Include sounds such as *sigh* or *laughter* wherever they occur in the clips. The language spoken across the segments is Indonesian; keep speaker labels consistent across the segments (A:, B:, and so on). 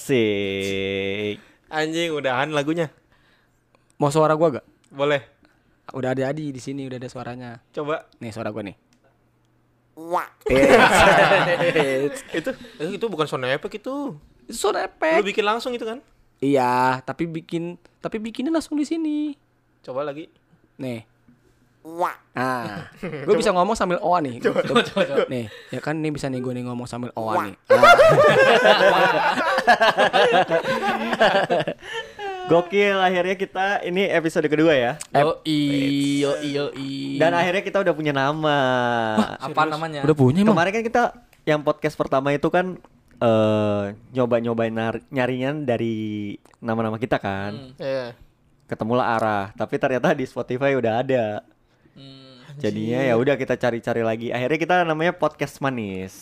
A: Asik.
B: Anjing udahan lagunya.
C: Mau suara gua gak?
B: Boleh.
C: Udah ada Adi di sini, udah ada suaranya.
B: Coba
C: Nih suara gua nih.
B: itu eh, itu bukan sound effect itu.
C: Itu *laughs*
B: Lu
C: Suara efek.
B: bikin langsung itu kan?
C: Iya, tapi bikin tapi bikinnya langsung di sini.
B: Coba lagi.
C: Nih.
B: *laughs*
C: Ah, gue bisa ngomong sambil oa nih. Coba, coba, coba. Nih, ya kan nih bisa nih gue nih ngomong sambil oa nih. Ah.
B: *laughs*
A: Gokil akhirnya kita ini episode kedua ya.
D: Yo i, yo i, yo i.
A: Dan akhirnya kita udah punya nama.
D: apa namanya?
C: Udah punya emang.
A: Kemarin kan kita yang podcast pertama itu kan eh nyoba-nyobain nar- nyarinya dari nama-nama kita kan.
B: Iya.
A: Ketemulah arah, tapi ternyata di Spotify udah ada.
D: Hmm.
A: Jadinya ya udah kita cari-cari lagi. Akhirnya kita namanya podcast manis.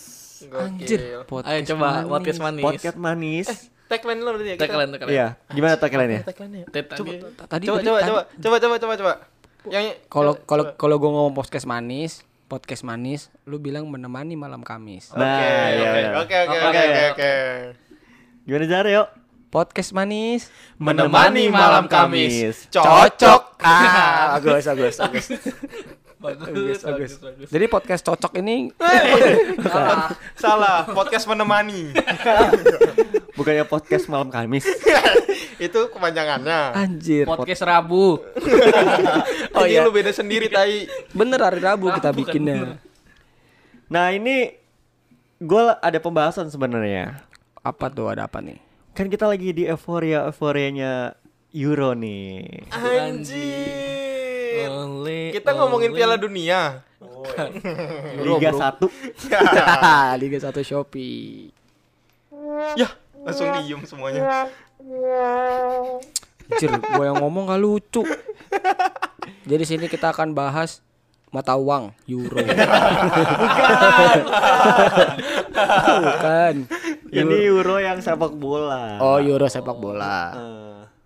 C: Anjir,
D: Ayo coba podcast manis.
A: Podcast manis.
B: Tagline lu berarti ya.
D: Tag kalian, tag kalian.
A: Iya, gimana tagline-nya?
B: Tagline
D: Tet tadi.
C: Tadi
B: Coba
C: tadi-
B: coba
C: tadi-
B: coba coba coba coba coba. Yang
C: Kalau kalau kalau gue ngomong podcast manis, podcast manis, lu bilang menemani malam Kamis.
A: Nah, iya,
B: Oke,
A: iya.
B: oke oke oke oke oke.
A: Gimana Jar, yuk?
C: Podcast manis.
B: Menemani malam
A: Kamis.
B: Kamis. Cocok.
C: Ah, bagus, bagus, bagus.
D: Bagus, bagus, bagus.
C: Jadi podcast cocok ini
B: Salah. *laughs* Salah, podcast menemani. *laughs*
A: Bukannya podcast malam Kamis.
B: itu kepanjangannya.
C: anjir.
D: Podcast Rabu.
B: Oh iya. lu beda sendiri tai.
C: Bener hari Rabu kita
D: Rabu kan bener.
C: bikinnya.
A: Nah, ini gue ada pembahasan sebenarnya.
C: Apa tuh ada apa nih?
A: Kan kita lagi di euforia euforianya Euro nih.
B: Anjir.
C: Oh.
D: Only-
B: Kita ngomongin
D: only-
B: Piala Dunia.
A: Liga 1.
C: *laughs* Liga 1 Shopee.
B: Yah, langsung
A: Iya.
B: diem semuanya.
C: Anjir, gue yang ngomong gak lucu. Jadi sini kita akan bahas mata uang euro. Bukan.
A: Ini Euro yang sepak bola.
C: Oh,
B: iya.
C: euro sepak bola.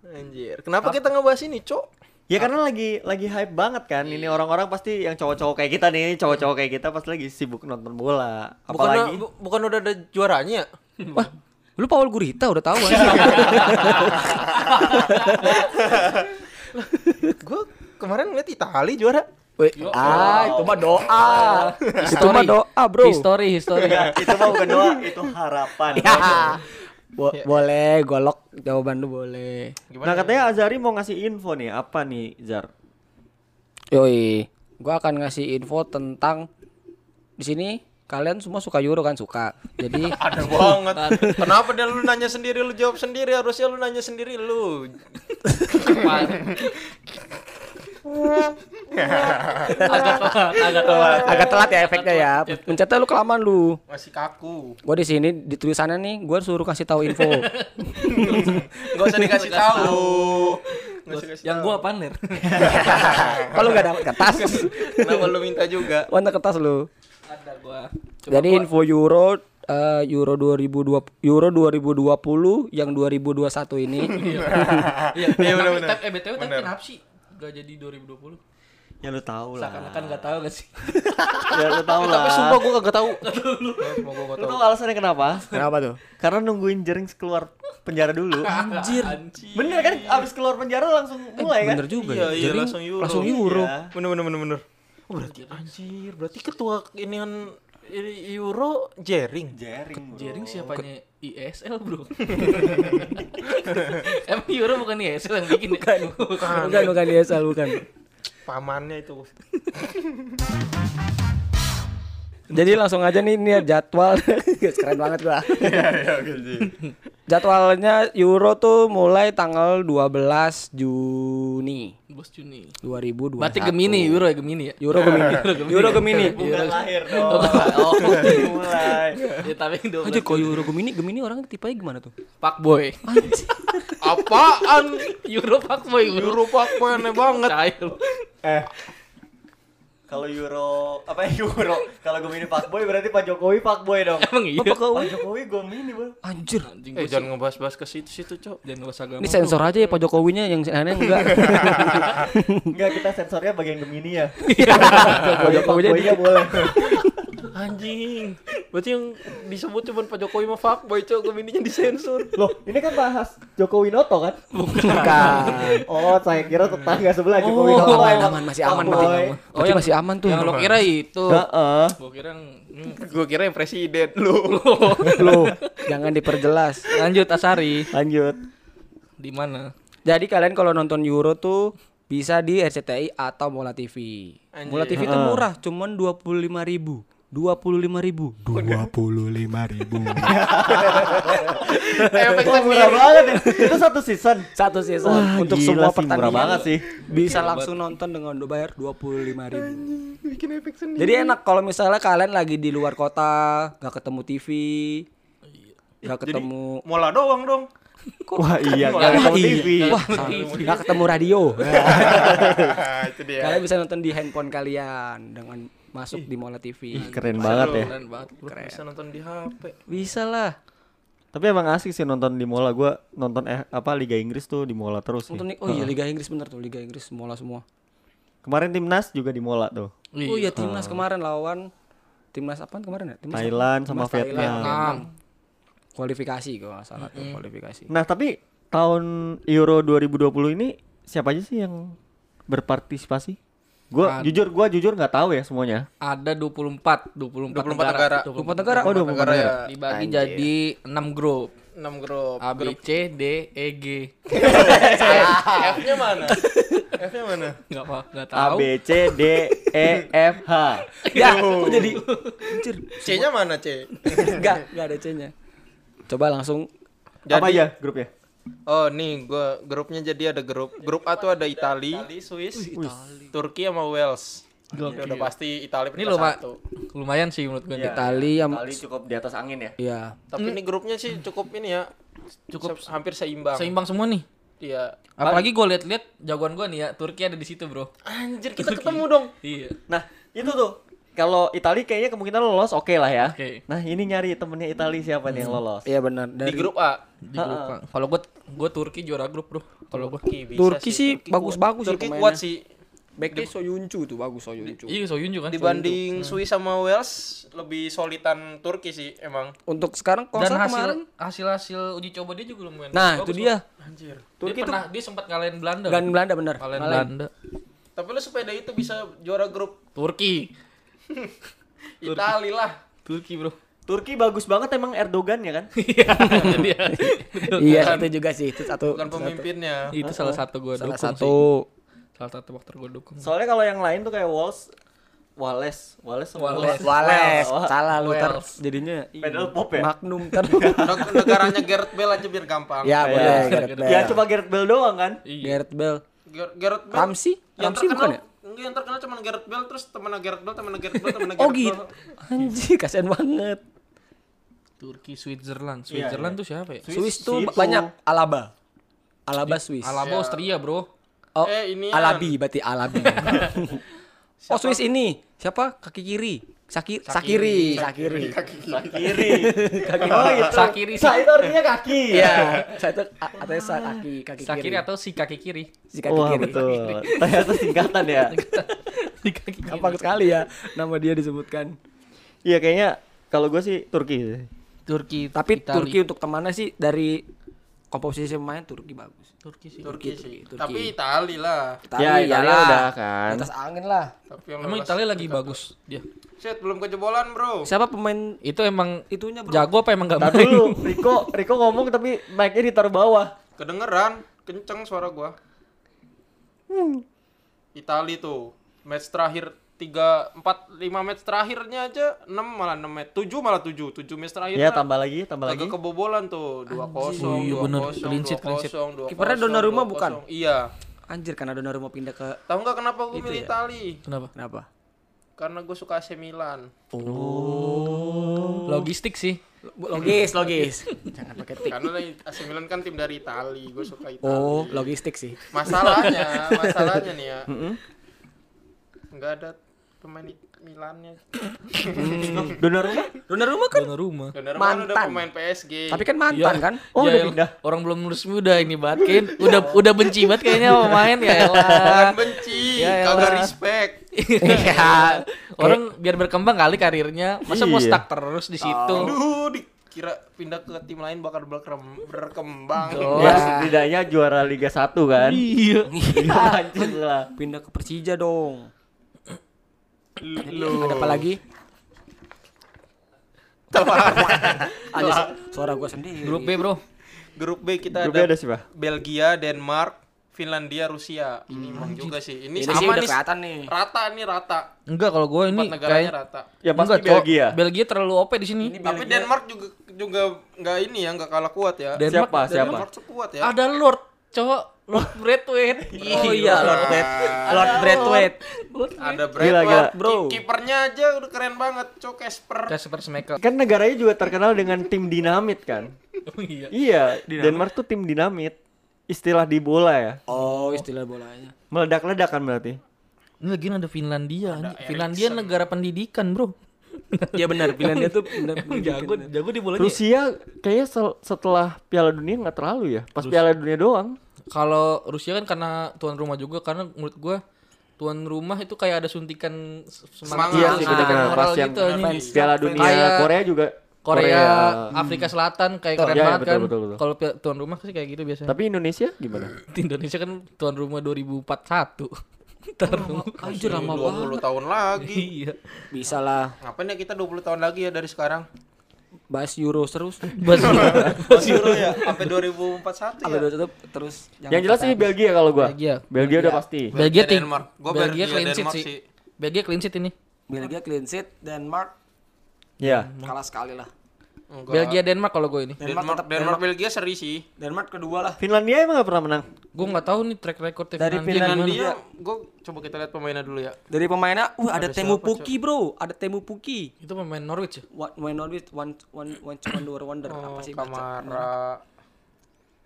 A: Eh,
B: Anjir, kenapa kita ngebahas ini, Cok?
A: Ya karena lagi lagi hype banget kan. Ini orang-orang pasti yang cowok-cowok kayak kita nih, cowok-cowok kayak kita pasti lagi sibuk nonton bola. Apalagi
B: bu- bukan udah ada juaranya?
C: Wah, lu Paul Gurita udah tahu *laughs* kan?
B: Gue kemarin ngeliat Itali juara.
C: Weh, ah, itu mah doa. itu mah
D: History.
C: doa, Bro.
D: History, *laughs* history.
A: Iya, itu mah bukan doa, itu
B: *laughs*
A: harapan.
B: Iya.
C: Ya. Bo- boleh golok jawaban lu boleh.
A: Nah, katanya Azari mau ngasih info nih, apa nih, Zar?
C: Yoi, gua akan ngasih info tentang di sini kalian semua suka euro kan suka. *laughs* Jadi
B: Ada banget. Kenapa dia lu nanya sendiri, lu jawab sendiri? Harusnya lu nanya sendiri lu.
D: Cepat. agak telat, agak telat.
C: agak telat ya efeknya ya. Mencetnya lu kelamaan lu.
B: Masih kaku.
C: Gua di sini di tulisannya nih gua suruh kasih tahu *laughs* info.
B: Gak usah dikasih tahu. Nggak usah dikasih
D: Yang gua apaan, Ner?
C: Kalau nggak dapat kertas, *laughs*
B: tahu. Kenapa lu minta juga?
C: mana kertas lu?
D: Ada gua.
C: Jadi info euro eh, euro 2020 euro 2020 yang 2021 *laughs* ini
D: Iya,
B: Iya,
D: tapi-
B: benar-benar.
D: tapi- Eh, BTW tapi
B: Benar.
D: kenapa sih? Gak jadi 2020.
A: Ya lu tau lah.
D: Seakan-akan gak kan tahu gak sih?
A: Ya lu tau lah.
B: Tapi sumpah gue kagak
A: *laughs*
B: tahu. Sumpah gua
A: Lu tau alasannya kenapa?
C: kenapa tuh?
A: Karena nungguin Jerings keluar penjara dulu.
C: Anjir.
A: bener kan? Abis keluar penjara langsung mulai kan?
C: Bener juga
B: Iya,
C: ya.
B: iya,
C: Jadi
B: langsung euro.
C: langsung euro.
A: Iya.
B: Bener bener bener bener. Oh, berarti anjir, berarti ketua ini kan Euro Jering.
A: Jering, bro.
D: Jering siapanya ISL, Bro. Emang Euro bukan ISL yang bikin ya?
C: Bukan bukan ESL bukan.
B: Pamannya itu.
C: Jadi langsung aja nih ini jadwal. *laughs* Guys, Keren banget gua. iya, Jadwalnya Euro tuh mulai tanggal 12 Juni
D: Bos Juni.
C: 2021.
D: Batik Gemini, Euro ya Gemini ya?
C: Euro
D: *laughs*
C: Gemini. *laughs* Euro Gemini.
A: Bukan lahir dong.
D: Oh,
A: mulai.
D: ya tapi yang 12
C: Anjir kalau Euro Gemini, Gemini orang tipenya gimana tuh?
D: Pak Boy. *laughs*
B: Apaan?
D: Euro Pak Boy.
B: Euro
D: Euro
B: Pak Boy *laughs* aneh banget.
A: Kalau Euro apa ya, Euro? Kalau gue mini Pak Boy berarti Pak Jokowi Pak Boy dong. Oh,
D: Emang iya.
A: Pak Jokowi gue mini bro.
C: Anjir.
D: Anjing
B: Eh
D: gua
B: jangan ngebahas-bahas ke situ-situ, Cok.
D: Jangan lupa agama.
C: Ini sensor aja ya Pak Jokowinya yang aneh enggak. *laughs*
A: Enggak kita sensornya bagian Gemini ya.
C: Pak Jokowinya
A: Boynya boleh.
B: Anjing. Berarti yang disebut cuma Pak Jokowi sama fuckboy, cok. Gemininya disensor.
A: Loh, ini kan bahas Joko Widodo kan?
C: Bukan.
A: *laughs* Oh, saya kira tetangga sebelah Joko
C: Oh,
A: Widodo.
C: aman,
A: emang
C: aman, masih aman,
A: fuckboy.
C: berarti aman. Berarti masih aman tuh.
D: Yang lo kira itu.
A: Heeh.
D: Gua kira hmm.
B: Gue kira yang presiden lu.
C: Loh, jangan diperjelas.
D: lanjut Asari.
A: Lanjut.
D: *laughs* Di mana?
C: Jadi kalian kalau nonton Euro tuh bisa di RCTI atau Mola TV.
B: Anjir.
C: Mola TV itu murah, cuman 25.000 ribu. 25.000 ribu.
E: dua puluh lima ribu
B: Eh,
A: Wah, murah banget ya. Itu satu season.
C: Satu season
A: Wah,
C: untuk
A: gila sih,
C: semua
A: murah
C: pertandingan.
A: banget sih.
C: Bisa langsung nonton dengan bayar 25.000 ribu. Jadi enak kalau misalnya kalian lagi di luar kota, nggak ketemu TV, nggak ketemu
B: *laughs* Mola doang dong.
A: Wah, iya
B: Wah,
A: nggak ketemu
C: iya.
A: TV.
C: Wah, nggak ketemu radio.
B: Ah, *laughs* itu dia.
C: Kalian bisa nonton di handphone kalian dengan masuk di Mola TV.
A: Ih, Keren banget ya.
D: Keren banget. bro.
C: Keren.
B: Bisa nonton di HP.
C: Bisa lah.
A: Tapi emang asik sih nonton di Mola. Gua nonton eh, apa Liga Inggris tuh di Mola terus sih.
C: Nonton nih- oh iya Liga Inggris bener tuh Liga Inggris Mola semua.
A: Kemarin timnas juga di Mola tuh.
D: Wih,
C: Oh iya timnas kemarin lawan timnas apa kemarin ya? Timnas Ah.
A: Thailand sama Vietnam.
C: Vietnam. Kualifikasi kalau nggak salah tuh kualifikasi.
A: Nah, tapi tahun Euro 2020 ini siapa aja sih yang berpartisipasi? Gua jujur gua jujur nggak tahu ya semuanya.
D: Ada
B: 24
D: 24, 24, negara.
B: negara. iya.
D: 24
C: negara?
A: Oh, 24 negara ya?
D: Dibagi jadi 6 grup.
B: 6 grup.
D: A, B, C, D, E, G. *laughs*
B: F-nya mana? *laughs* F-nya mana?
D: Enggak apa, enggak
A: A
D: tahu.
A: B C D E F H.
C: *laughs* Ya, aku jadi anjir.
B: *laughs*
C: *laughs*
B: C-nya mana, C?
C: Enggak, enggak ada C-nya. Coba langsung
A: Apa ya grupnya?
B: Oh nih gua grupnya jadi ada grup grup A tuh ada Itali, Swiss, Turki sama Wales. Ini udah pasti Itali
D: Ini
B: peringkat
D: luma
B: satu. Iya.
D: lumayan sih menurut gue. nih.
C: Itali yang
A: cukup di atas angin ya.
C: Iya.
B: Tapi ini grupnya sih cukup ini ya. Cukup hampir seimbang.
D: Seimbang semua nih.
B: Iya.
D: Apalagi gue liat-liat jagoan gue nih ya, Turki ada di situ, Bro.
B: Anjir kita ketemu dong.
D: Iya.
A: Nah, itu tuh. Kalau Itali kayaknya kemungkinan lolos oke Hmm. lah ya.
D: Oke.
A: Nah, ini nyari temennya Itali siapa nih yang lolos?
C: Iya benar.
B: Di
C: Dari
B: grup A.
D: Di grup A. Kalau gue gue Turki juara grup, Bro. Kalau gue
B: Turki, bisa
C: Turki sih
B: Turki
C: bagus-bagus
B: kuat.
C: sih
B: Turki
C: pemainnya.
B: kuat sih.
C: backnya Soyuncu tuh bagus Soyuncu.
D: Iya, Soyun juga kan.
B: Dibanding
C: Hmm.
B: Swiss sama Wales lebih solitan Turki sih emang.
C: Untuk sekarang kalau
D: dan
C: nggak salah
D: hasil
C: kemarin.
D: hasil hasil uji coba dia juga lumayan.
C: Nah, itu
D: bagus,
C: dia.
B: Anjir.
D: loh. Dia pernah dia sempat ngalahin Belanda.
C: Dan Belanda bener.
D: ngalahin
C: Ngalahin.
D: Belanda.
B: Tapi lu sepeda itu bisa juara grup
D: Turki.
B: Itali lah.
D: Turki, Bro. *laughs*
A: Turki bagus banget emang Erdogan ya *laughs* kan?
D: Dia.
C: *laughs* Iya, itu juga sih. Itu satu
B: Bukan pemimpinnya.
D: itu salah satu gue dukung
C: salah
D: sih.
C: satu
D: Salah satu faktor gue dukung.
A: Soalnya kalau yang lain tuh kayak Walls, Wales, Wales sama
D: Wales.
C: Wales,
A: Wales.
C: salah lu ter
D: Wales.
C: jadinya
A: Pedal pop ya?
C: Magnum
B: *laughs*
C: ter.
B: Neg- negaranya Gareth Bale aja biar gampang.
C: *laughs* ya boleh Gareth Bale.
A: Ya cuma Gareth Bale doang *laughs* kan?
C: Gareth Bale.
B: Ger- Gareth Bale.
C: Ramsey?
B: Yang
C: Ramsey
B: terkenal,
C: bukan ya?
B: Enggak, yang terkenal cuma Gareth Bale terus temennya Gareth Bale, temennya Gareth
C: *laughs*
B: Bale, temennya
C: Oh
B: Gareth
C: gitu.
B: Bale.
C: Anjir, kasihan banget.
D: Turki, Switzerland. Switzerland tuh siapa ya?
C: Swiss tuh banyak Alaba. Alaba Swiss.
D: Alaba Austria, Bro.
C: Oh,
B: Eh, ini
C: Alabi berarti Alabi. oh, Swiss ini. Siapa? Kaki kiri. Saki- Sakiri. Sakiri.
A: Kiri. Oh gitu.
D: Sakiri.
A: Sa itu artinya kaki.
C: Iya, saya itu a- atau sa- kaki kaki kiri.
D: Sakiri atau si kaki kiri?
C: Si kaki
A: Wah
C: kiri. *laughs*
A: betul. Ternyata singkatan ya. *laughs*
D: Si kaki kiri.
C: Gampang sekali ya nama dia disebutkan.
A: Iya kayaknya kalau gue sih Turki.
D: Turki,
C: Tapi Turki untuk temannya sih dari komposisi pemain Turki bagus.
D: Turki sih.
B: Turki Iya sih. Tapi Itali lah.
A: Ya,
C: Itali
A: Italia
C: lah.
A: udah kan.
C: Atas angin lah.
B: Tapi yang
D: Emang
B: lolos-
D: Italia lagi bagus dia.
B: Shit, belum kejebolan, Bro.
C: Siapa pemain
D: Itu emang
C: itunya bro?
D: jago apa emang gak
A: Ntar
D: main?
A: dulu Riko Riko ngomong tapi mic-nya ditaruh bawah.
B: Kedengeran, kenceng suara gua. Itali tuh. Match terakhir 3 4 5 match terakhirnya aja 6 malah 6 match. 7 malah 7. 7 match terakhir.
C: Iya,
A: Ya tambah lagi, tambah lagi.
B: Agak kebobolan tuh 2-0, 2-0,
D: Oh iya, bener. Clean sheet, clean sheet.
B: 2-0, 2-0.
C: Kipernya Donnarumma bukan?
B: Iya.
C: Anjir karena Donnarumma pindah ke
B: Tahu nggak kenapa gue milih
D: ya.
B: Itali?
D: Kenapa?
C: kenapa?
B: Karena gue suka AC Milan.
D: Logistik sih.
C: Logis, logis. *laughs* Jangan pakai tik.
B: Karena AC Milan kan tim dari Itali, gue suka Itali.
C: Oh, logistik sih.
B: Masalahnya, masalahnya nih ya. Nggak ada pemain I- Milannya.
A: Donnarumma?
C: Donnarumma kan
D: Donnarumma.
B: Donnarumma kan udah
C: Mantan.
B: pemain PSG.
C: tapi kan mantan kan?
A: Oh, udah
D: elah.
A: pindah.
D: Ya, Orang belum resmi udah ini banget Kain. Udah udah benci banget kayaknya sama pemain ya elah.
B: Jangan benci,
D: Ya
B: kagak
D: elah.
B: respect.
C: Iya.
D: *laughs* Orang biar berkembang kali karirnya. Masa mau
A: Iya.
D: stuck terus di situ?
B: Aduh, dikira pindah ke tim lain bakal berkem- berkembang.
A: Ya, setidaknya juara Liga 1 kan.
D: Iya.
A: Iya, anjing lah.
C: Pindah ke Persija dong.
B: Lu.
C: Ada apa lagi? *laughs* Ada su- suara gua sendiri.
D: Grup B, Bro.
B: Grup B kita
A: Grup B
B: ada,
A: ada siapa?
B: Belgia, Denmark, Finlandia, Rusia. Ini mah juga sih. Ini,
C: Ini sih
B: sama
C: udah
B: nih.
C: kelihatan nih.
B: Rata nih rata.
D: Enggak kalau gue ini
B: Empat negaranya
D: kayak
B: rata.
A: Ya pasti
D: Enggak, cowok.
A: Belgia.
D: Belgia terlalu OP di sini.
B: Tapi Denmark juga juga nggak ini ya, nggak kalah kuat ya.
D: Dan- Denmark-
A: siapa? Siapa?
B: Denmark tuh kuat ya.
D: Ada Lord, cowok Lord Braithwaite.
C: Oh iya, Lord Brad. Lord Bradwaite.
B: Ada
A: Gila, gila.
B: Bradford,
C: Bro.
B: Ki- Kipernya aja udah keren banget, Cok Casper.
D: Kasper Schmeichel.
A: Kan negaranya juga terkenal dengan tim dinamit kan.
D: Oh iya.
A: Iya, Denmark tuh tim dinamit. Istilah di bola ya.
C: Oh, istilah bolanya.
A: Meledak-ledak kan berarti.
D: Ini lagi ada Finlandia. anjing. Finlandia negara pendidikan, Bro.
C: Iya benar, pilihan dia tuh benar.
D: jago jago di bola
A: Rusia kayaknya sel- setelah Piala Dunia nggak terlalu ya. Pas Piala Dunia doang.
D: Kalau Rusia kan karena tuan rumah juga karena menurut gua tuan rumah itu kayak ada suntikan s-
A: Ah,
D: semangat,
B: Iya sih,
D: suntikan
A: bener-bener.
D: moral
A: Pas yang
D: gitu anjing.
A: Piala Dunia
D: Kayak-
A: Korea juga.
D: Korea, Afrika Selatan kayak keren
A: Iya, iya,
D: banget
A: betul,
D: kan.
A: betul, betul.
D: Kalau pia- tuan rumah sih kayak gitu biasanya.
A: Tapi Indonesia gimana?
D: *laughs* Di Indonesia kan tuan rumah *laughs* 2041. Ntar
C: Anjir lama banget.
B: 20 tahun lagi.
D: iya.
C: Bisa lah
B: Ngapain ya kita 20 tahun lagi ya dari sekarang?
C: bahas Euro terus.
D: Bas
A: *laughs*
B: Masih Euro ya, sampai 2041
C: Apa
B: ya.
C: dua tutup terus
A: Yang jelas sih Belgia kalau gua.
D: Belgia. Iya.
A: Belgia. udah pasti.
D: Belgia ting-
B: Denmark. Gua
D: Belgia
B: Belgia,
D: clean sheet
B: Denmark
D: sih.
B: sih.
D: Belgia clean sheet ini.
C: Belgia clean sheet, Denmark
A: Iya.
C: kalah sekali lah.
B: Enggak.
D: Belgia Denmark kalau gue ini.
B: Denmark, Denmark, Belgia seri sih.
C: Denmark kedua lah.
A: Finlandia emang gak pernah menang.
D: Gue nggak tahu nih track record
C: Dari Finlandia.
B: Dia Iya. gua coba kita lihat pemainnya dulu ya.
C: Dari pemainnya, uh ada, Temu Puki, Bro. Ada Temu Puki.
D: Itu pemain Norwich ya?
C: One one Norwich one one one wonder wonder apa sih Oh, baca? Iya.
B: Kamara.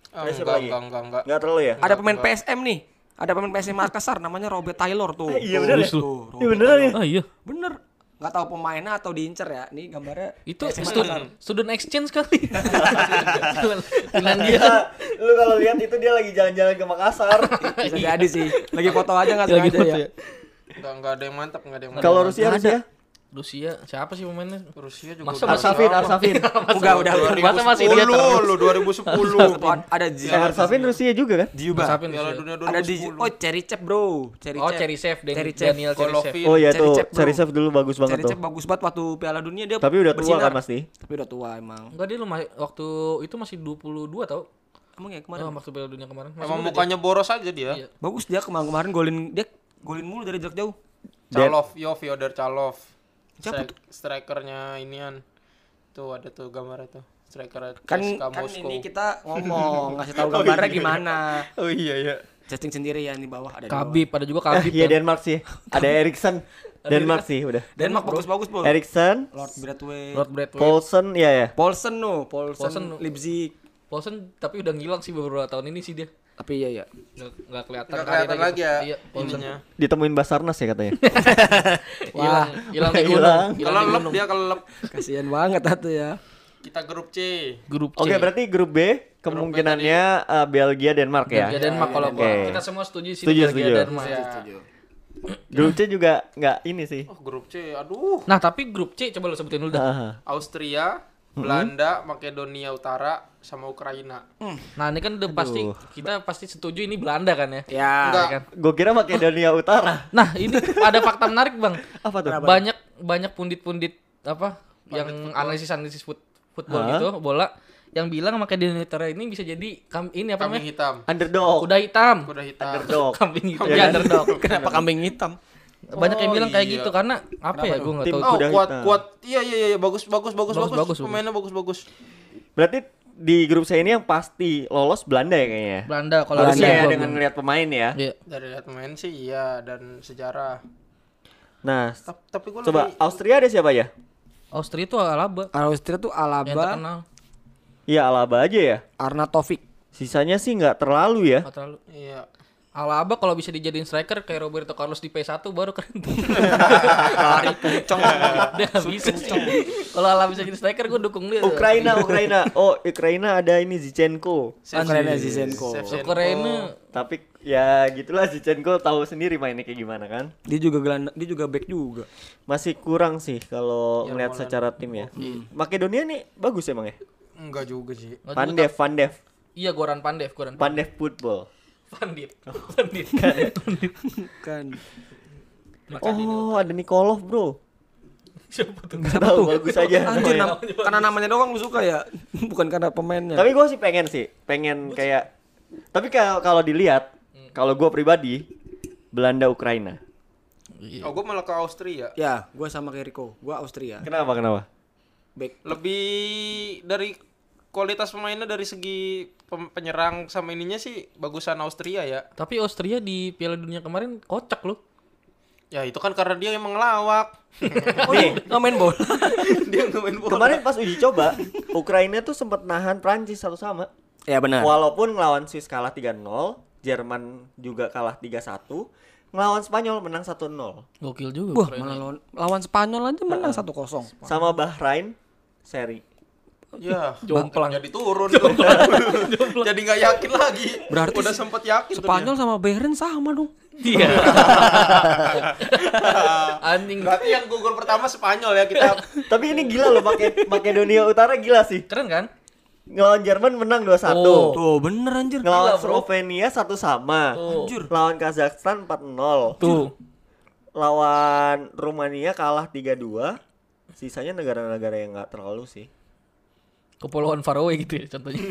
B: Ah, enggak, enggak, enggak, enggak.
A: Gak terlalu ya?
C: Ada pemain PSM nih. Ada pemain PSM Makassar namanya Robert Taylor tuh.
A: Iya
C: Tuh,
A: bener ya?
C: tuh, Robert
A: Iya bener ya?
D: Ah iya.
C: Bener. Nggak tahu pemainnya atau diincer ya. Nih gambarnya.
D: Itu student, student exchange
B: *laughs*
D: kali. Finlandia.
A: Lu kalau lihat itu dia lagi jalan-jalan ke Makassar.
C: Bisa jadi sih. Lagi foto aja
A: Iya,
C: nggak
D: *laughs*
A: gitu
D: Lagi
C: sengaja
D: foto
C: ya.
D: ya.
B: Enggak, enggak ada yang mantap, enggak ada yang
A: *laughs*
B: mantap.
A: kalau Rusia Rusia.
D: Rusia, siapa sih pemainnya?
B: Rusia juga
D: Masa
B: udah
A: Arsafin, Arsafin.
C: Enggak udah udah.
D: Masa masih dia
B: 2010 lu 2010.
C: Oh, Ada
A: Eh,
C: Jiba.
A: Arsafin Rusia juga kan?
C: Jiba.
D: Sapin
B: Piala Dunia
D: Rusia.
C: Ada di
B: 2010.
C: Oh Chericep bro. Chericep.
D: Oh, Cherisev, Dan-
C: Cherisev.
D: Daniel Cherisev.
B: Golovin.
A: Oh iya
C: Cari
A: tuh,
C: cep, bro.
A: cari save dulu bagus banget
C: Chericep
A: tuh.
C: bagus banget waktu Piala Dunia dia.
A: Tapi udah tua
C: bersinar.
A: kan pasti.
C: Tapi udah tua emang.
D: Enggak dia lumah, waktu itu masih 22 tau
C: Emang ya kemarin.
A: Oh.
D: Kemarin waktu Piala Dunia kemarin. Masih
B: Emang
D: muda
B: mukanya boros aja dia.
C: Bagus dia kemarin kemarin golin dia golin mulu dari jarak jauh.
B: Calov, yo Fyodor Calov. Strik- strikernya inian. Tuh ada tuh gambar itu. Striker
C: Kan
B: CSKA
C: kan
B: Moskow.
C: ini kita ngomong ngasih
A: *laughs*
C: tahu
A: iya.
C: gambarnya gimana.
B: Oh iya iya.
C: Chatting sendiri ya di bawah ada di
D: dia. Kabib, ada
A: Eh,
D: juga Kabib.
A: Iya
D: kan.
A: Denmark sih. Ada Eriksen. Denmark sih udah.
C: bawah. Denmark bagus-bagus, Bro.
A: Eriksen,
C: Lord Bradway.
D: Lord Bradway.
A: Paulsen, ya ya.
C: Paulsen no, Paulsen,
D: Paulsen, no.
C: Leipzig.
D: Paulsen tapi udah ngilang sih beberapa tahun ini sih dia.
C: Tapi iya ya.
D: Nggak, nggak kelihatan.
B: Enggak kelihatan
D: karirnya
B: lagi
D: gitu.
B: ya
D: Iya, Paulsen.
B: ininya.
A: Ditemuin Basarnas ya katanya.
D: Hilang, hilang di
A: *laughs*
D: gunung.
A: Hilang.
D: Hilang di
B: Kelelep
D: gunung.
B: dia kelelep.
C: Kasihan banget atuh ya.
B: Kita grup C.
D: Grup C.
A: Oke, berarti grup B kemungkinannya eh, Belgia Denmark ya.
D: Belgia Denmark kalau
A: Oke.
D: gua. Kita semua setuju sih ya.
A: Setuju,
D: Belgia
A: setuju.
D: Denmark.
A: Grup C juga nggak ini sih. *laughs*
B: Oh, grup C. Aduh.
D: Nah, tapi grup C coba lu sebutin dulu dah.
A: Ah.
B: Austria, Belanda, Makedonia Utara sama Ukraina.
D: Nah, ini kan udah pasti kita pasti setuju ini Belanda kan ya.
C: Ya.
B: Enggak.
A: Gue kira Makedonia Utara.
D: Nah, ini ada fakta menarik, Bang.
A: Apa tuh?
D: Banyak banyak pundit-pundit apa yang analisis-analisis fut- football gitu, bola yang bilang Makedonia Utara ini bisa jadi kam- ini apa
B: Kambing
D: namanya?
B: hitam.
A: Underdog.
D: Kuda hitam.
B: Kuda hitam.
A: Underdog.
D: Kambing hitam.
A: Iya
D: Ya,
A: kan?
B: *laughs*
D: underdog.
C: Kenapa kambing hitam?
D: Banyak yang
B: Oh,
D: bilang kayak
B: iya.
D: gitu karena apa ya? Gue nggak
A: Tim-
D: tahu.
B: Oh,
A: Kuda
B: kuat
A: hitam.
B: kuat. Iya iya iya bagus bagus bagus
D: Bagus,
B: bagus.
D: bagus, bagus.
B: Pemainnya bagus bagus.
A: Berarti di grup C ini yang pasti lolos Belanda ya kayaknya.
D: Belanda kalau
A: Harusnya ya
D: Belanda.
A: dengan lihat pemain ya.
D: Iya.
B: Dari lihat pemain sih iya dan sejarah.
A: Nah,
B: Ta- Tapi gue
A: coba Austria ada siapa ya?
D: Austria itu Alaba
C: Austria tuh
D: yang
C: Alaba,
D: terkenal.
A: Iya Alaba aja ya.
C: Arnautovic.
A: Sisanya sih nggak terlalu ya.
D: Nggak terlalu.
B: Iya.
D: Alaba kalau bisa dijadiin striker kayak Roberto Carlos di P1 baru keren tuh.
B: Lari puncong.
D: Dia nggak bisa sih. Kalau Alaba bisa jadi striker gue dukung dia. tuh.
A: Ukraina, Ukraina. Oh, Ukraina ada ini Zichenko.
C: Ukraina Zizenko.
B: Shevchenko.
D: Ukraina.
A: Tapi ya gitulah Zichenko tahu sendiri mainnya kayak gimana kan.
C: Dia juga gelandang, dia juga back juga. *laughs*
A: Masih kurang sih kalau melihat secara tim ya. Makedonia nih bagus emang ya.
F: Enggak juga sih.
D: Oh, juga
A: Pandev, Pandev,
D: tak- Iya Goran Pandev, Goran
A: Pandev football.
D: Pandit. Pandit. Pandit.
C: Bukan.
A: Oh, ada Nikolov, Bro.
D: Siapa tuh?
A: Gak tahu bagus aja.
C: Anjir, nam- karena namanya doang lu suka ya, *laughs* bukan karena pemainnya.
A: Tapi gue sih pengen sih, pengen kayak. Tapi kalau kalau dilihat, kalau gue pribadi Belanda Ukraina.
B: Oh, gue malah ke Austria.
C: ya, gua sama kayak Rico, gua Austria.
A: Kenapa kenapa?
C: Back.
B: Lebih dari kualitas pemainnya dari segi pem- penyerang sama ininya sih bagusan Austria ya.
D: Tapi Austria di Piala Dunia kemarin kocak loh.
B: Ya itu kan karena dia emang lawak.
C: Oh, iya, nggak main bola.
B: *laughs* dia nggak main bola.
A: Kemarin pas uji coba, Ukraina tuh sempat nahan Prancis satu sama.
C: ya benar.
A: Walaupun ngelawan Swiss kalah 3-0, Jerman juga kalah 3-1, ngelawan Spanyol menang 1-0.
D: Gokil juga.
C: Wah,
D: Ukraina.
C: malah lawan, lawan Spanyol aja menang 1-0.
A: Sama Bahrain seri.
B: Ya,
D: Jomplang.
B: Jadi turun tuh. Jadi nggak yakin lagi.
C: Berarti
B: udah sempat yakin tuh
C: Spanyol sama Bayern sama dong.
D: Iya. Anjing.
B: dia. Berarti yang gugur pertama Spanyol ya kita.
A: Tapi ini gila loh Make- Makedonia Utara gila sih.
D: Keren kan?
A: Ngelawan Jerman menang 2-1.
D: Oh.
C: Tuh, bener anjir.
A: Ngelawan
D: Gila, bro.
A: Slovenia satu sama.
D: Tuh.
A: Lawan Kazakhstan 4-0.
D: Tuh.
A: Lawan Rumania kalah 3-2. Sisanya negara-negara yang nggak terlalu sih.
D: Kepulauan Faroe gitu ya contohnya.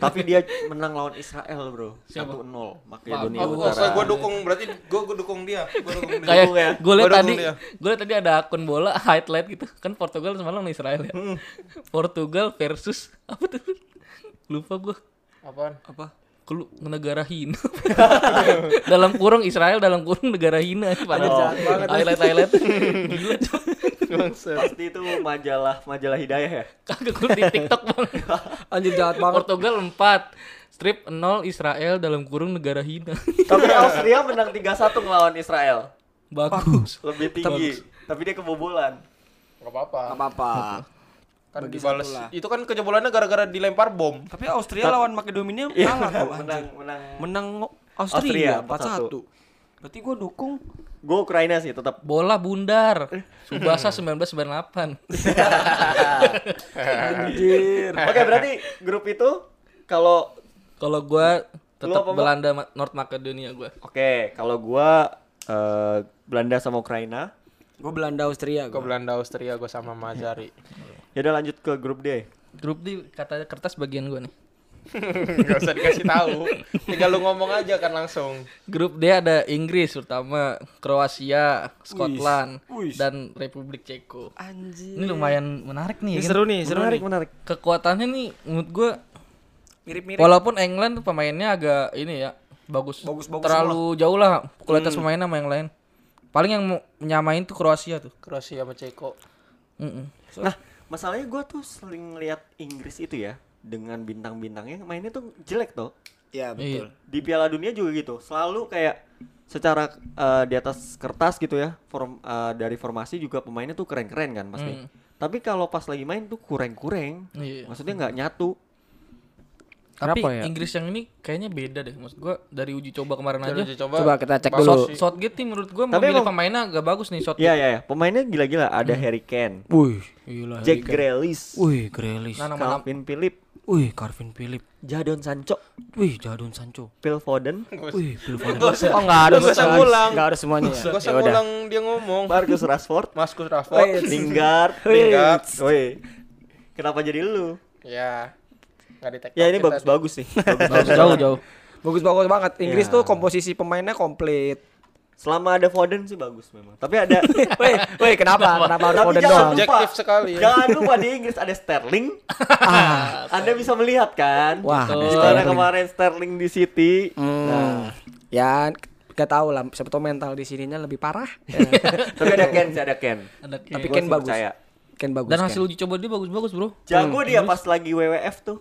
A: Tapi dia menang lawan Israel, Bro. 1-0 Makedonia
B: Oh,
A: Utara.
B: gue dukung berarti gue gue dukung dia. Gue dukung dia.
D: Kayak
A: ya.
D: gue liat
B: Baru
D: tadi,
B: dulu ya.
D: gue liat tadi ada akun bola *laughs* highlight gitu kan Portugal semalam nih Israel ya. Portugal versus apa tuh? Lupa gue.
B: Apaan?
C: Apa?
D: Kelu negara hina. *laughs* dalam kurung Israel dalam kurung negara hina. Padahal highlight highlight. *laughs* Gila cuy.
A: Pasti itu majalah majalah hidayah ya.
D: Kagak gue di TikTok bang.
C: Anjir jahat banget.
D: Portugal 4 Strip 0 Israel dalam kurung negara hina. *laughs*
A: Tapi Austria menang 3-1 ngelawan Israel.
D: Bagus.
A: Lebih tinggi. Tapi dia kebobolan.
B: Gak apa-apa.
C: Gak apa-apa.
B: Kan dibales. Itu kan kejebolannya gara-gara dilempar bom.
C: *laughs* Tapi Austria lawan Makedonia kalah kok anjir.
A: Menang menang.
C: Iya. *laughs* Menang Austria,
A: Austria,
C: 4-1. Berarti gua dukung
A: Gue Ukraina sih tetap.
D: Bola bundar. Subasa 1998.
C: anjir.
A: Oke, berarti grup itu kalau
D: Kalau gua
A: Lu apa,
D: tetap
A: Bang?
D: Belanda Ma- North Makedonia gua.
A: Oke, kalau gua eh, Belanda sama Ukraina.
C: Gua Belanda Austria
B: Ke
C: gua.
B: Belanda Austria gue sama Mazari. *laughs*
A: Ya udah lanjut ke grup D.
D: Grup D kata kertas bagian gua nih.
B: Gak usah dikasih tahu. Tinggal lu ngomong aja kan langsung.
D: Grup D ada Inggris terutama, Kroasia, Scotland
C: Wis.
D: dan Republik Ceko.
C: Anjir.
D: Ini lumayan menarik nih. ya
C: Ini
D: kan?
C: seru nih, seru
A: menarik,
C: nih.
A: menarik.
D: Kekuatannya nih menurut gua
C: Mirip-mirip.
D: walaupun England tuh pemainnya agak ini ya bagus,
C: Bagus- bagus
D: terlalu jauh lah kualitas
C: Hmm.
D: pemainnya sama yang lain. Paling yang mau nyamain tuh Kroasia tuh.
B: Kroasia sama Ceko.
D: Mm-mm.
A: Nah, masalahnya gua tuh sering lihat Inggris itu ya dengan bintang-bintangnya mainnya tuh jelek tuh.
C: Ya,
D: Iya.
C: betul.
A: Di Piala Dunia juga gitu. Selalu kayak secara eh, di atas kertas gitu ya. Form eh, dari formasi juga pemainnya tuh keren-keren kan pasti. Tapi kalau pas lagi main tuh kurang-kurang.
D: Iya.
A: Maksudnya nggak nyatu.
D: Tapi
C: Kenapa ya?
D: Inggris yang ini kayaknya beda deh maksud gua dari uji coba kemarin aja.
B: Uji coba.
C: Iya. Coba kita cek
B: Bakso
C: dulu.
B: sih.
D: Southgate nih menurut gua
A: Tapi
D: memilih
A: emang-
D: pemainnya gak bagus nih Southgate.
A: Iya, iya, iya. Pemainnya gila-gila. Ada
C: Hmm.
A: Harry Kane,
C: Wih, gila.
A: Jack Grealish,
C: Wih, Grealish.
D: Nah, nama,
A: Calvin Phillips,
C: Wih, Carvin Philip.
A: Jadon Sancho,
C: Wih, Jadon Sancho.
A: Phil Foden,
C: Wih, Phil *laughs* Foden. Oh, enggak ada.
B: Lu gak usah ngulang.
C: Enggak ada semuanya ya.
B: Gak usah
C: Ya udah.
B: ngulang dia ngomong.
A: Marcus
B: *laughs*
A: Rashford,
B: Marcus
A: iya.
B: Rashford.
A: Lingard,
B: Lingard.
A: Woi. Kenapa jadi lu?
B: Ya. Gak di
A: Ya ini bagus-bagus *laughs* sih. Bagus.
D: jauh jauh.
C: Bagus bagus banget. Inggris tuh komposisi pemainnya *laughs* komplit.
A: Selama ada Foden sih bagus memang. Tapi
C: *laughs*
A: ada
C: Weh, weh kenapa? Kenapa harus
A: tapi
C: Foden
A: jangan
C: doang?
A: lupa,
B: Objektif sekali ya.
A: Jangan lupa di Inggris ada
C: *laughs*
A: Sterling. Anda bisa melihat kan?
C: Ah. Wah, ada
A: Gimana
C: Sterling.
A: kemarin Sterling di City.
C: Hmm. Ya, gak tahu lah. Siapa tahu mental di sininya lebih *laughs* parah.
A: Tapi ada Ken, sih, ada Ken.
D: Ada Kane.
C: Tapi
A: Gua
C: Ken
A: sih
C: bagus.
A: percaya.
C: Ken iya, bagus. kan.
D: Dan
C: Ken.
B: Hmm,
D: hasil uji coba dia bagus-bagus, Bro.
A: Jago dia pas lagi WWF tuh.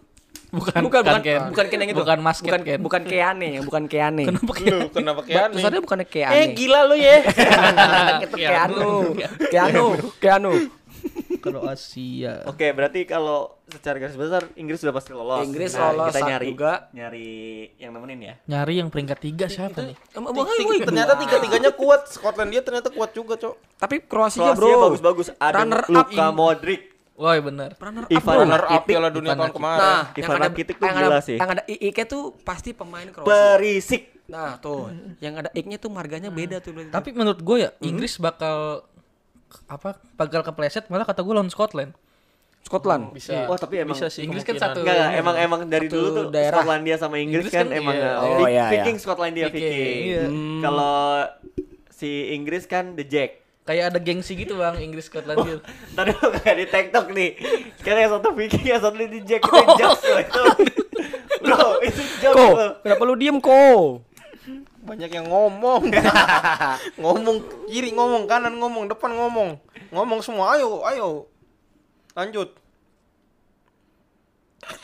D: Bukan,
C: bukan bukan
D: Ken.
C: bukan Ken yang itu.
D: Bukan Mas Ken,
C: bukan,
D: Ken.
C: bukan Keane, bukan Keane.
D: Kenapa kayak
B: Lu kenapa
C: Ba-
B: kayak
C: Tulisannya bukan Keane.
B: Eh gila
C: *laughs*
B: lu ya.
C: Keanu. Keanu. Gitu kan. Keanu. iya, Keanu.
B: Kroasia.
A: Oke, berarti kalau secara garis besar Inggris sudah pasti lolos.
C: Inggris
A: Nah,
C: lolos,
A: kita
C: Sak
A: nyari
C: juga.
A: nyari yang nemenin ya.
D: nyari yang peringkat tiga siapa nih?
C: Em,
B: Tik,
C: bukan,
B: tik,
C: woi.
B: ternyata tiga-tiganya kuat. Scotland dia ternyata kuat juga, Cok.
C: Tapi Kroasia,
B: Iya,
A: Kroasia
C: Bro.
A: bagus-bagus. Ada
C: Runner up
A: Luka
C: in-
A: Modric,
D: Woi benar.
C: Runner up,
A: Ivan
C: bro.
B: Runner up
A: Rakitic,
B: Piala Dunia tahun kemarin.
C: Nah,
A: Ivan Rakitic tuh
C: yang
A: gila
C: ada,
A: sih.
C: Yang ada IIK tuh pasti pemain Kroasia.
A: Perisik.
C: Nah, tuh, yang ada ik-nya tuh marganya beda tuh. berarti.
D: Tapi menurut gue ya
C: Hmm?
D: Inggris bakal apa bakal kepleset malah kata gue lawan Scotland.
C: Scotland.
B: Bisa.
A: Wah, tapi emang
B: bisa sih.
D: Inggris kan
B: kemungkinan.
D: satu-
A: Enggak, enggak, emang emang dari
C: Satu
A: dulu tuh
C: daerah.
A: Skotlandia sama Inggris,
D: Inggris
A: kan,
D: kan,
A: emang
D: iya.
A: eh, Vi-
C: Oh, iya, Hmm. iya.
A: Viking Skotlandia
D: Viking,
A: Viking.
D: iya.
A: Kalau si Inggris kan The Jack.
D: Kayak ada gengsi gitu bang Inggris Scotland gitu.
A: Tadi lu kayak di TikTok nih. Sekarang yang satu Viking, yang satu The Jack. Kita jokes loh itu. Bro, itu jokes
C: Ko,
A: loh.
C: kenapa lu diem ko?
B: Banyak yang *laughs* ngomong. ngomong kiri ngomong, kanan ngomong, depan ngomong. Ngomong semua. Ayo, ayo. Lanjut.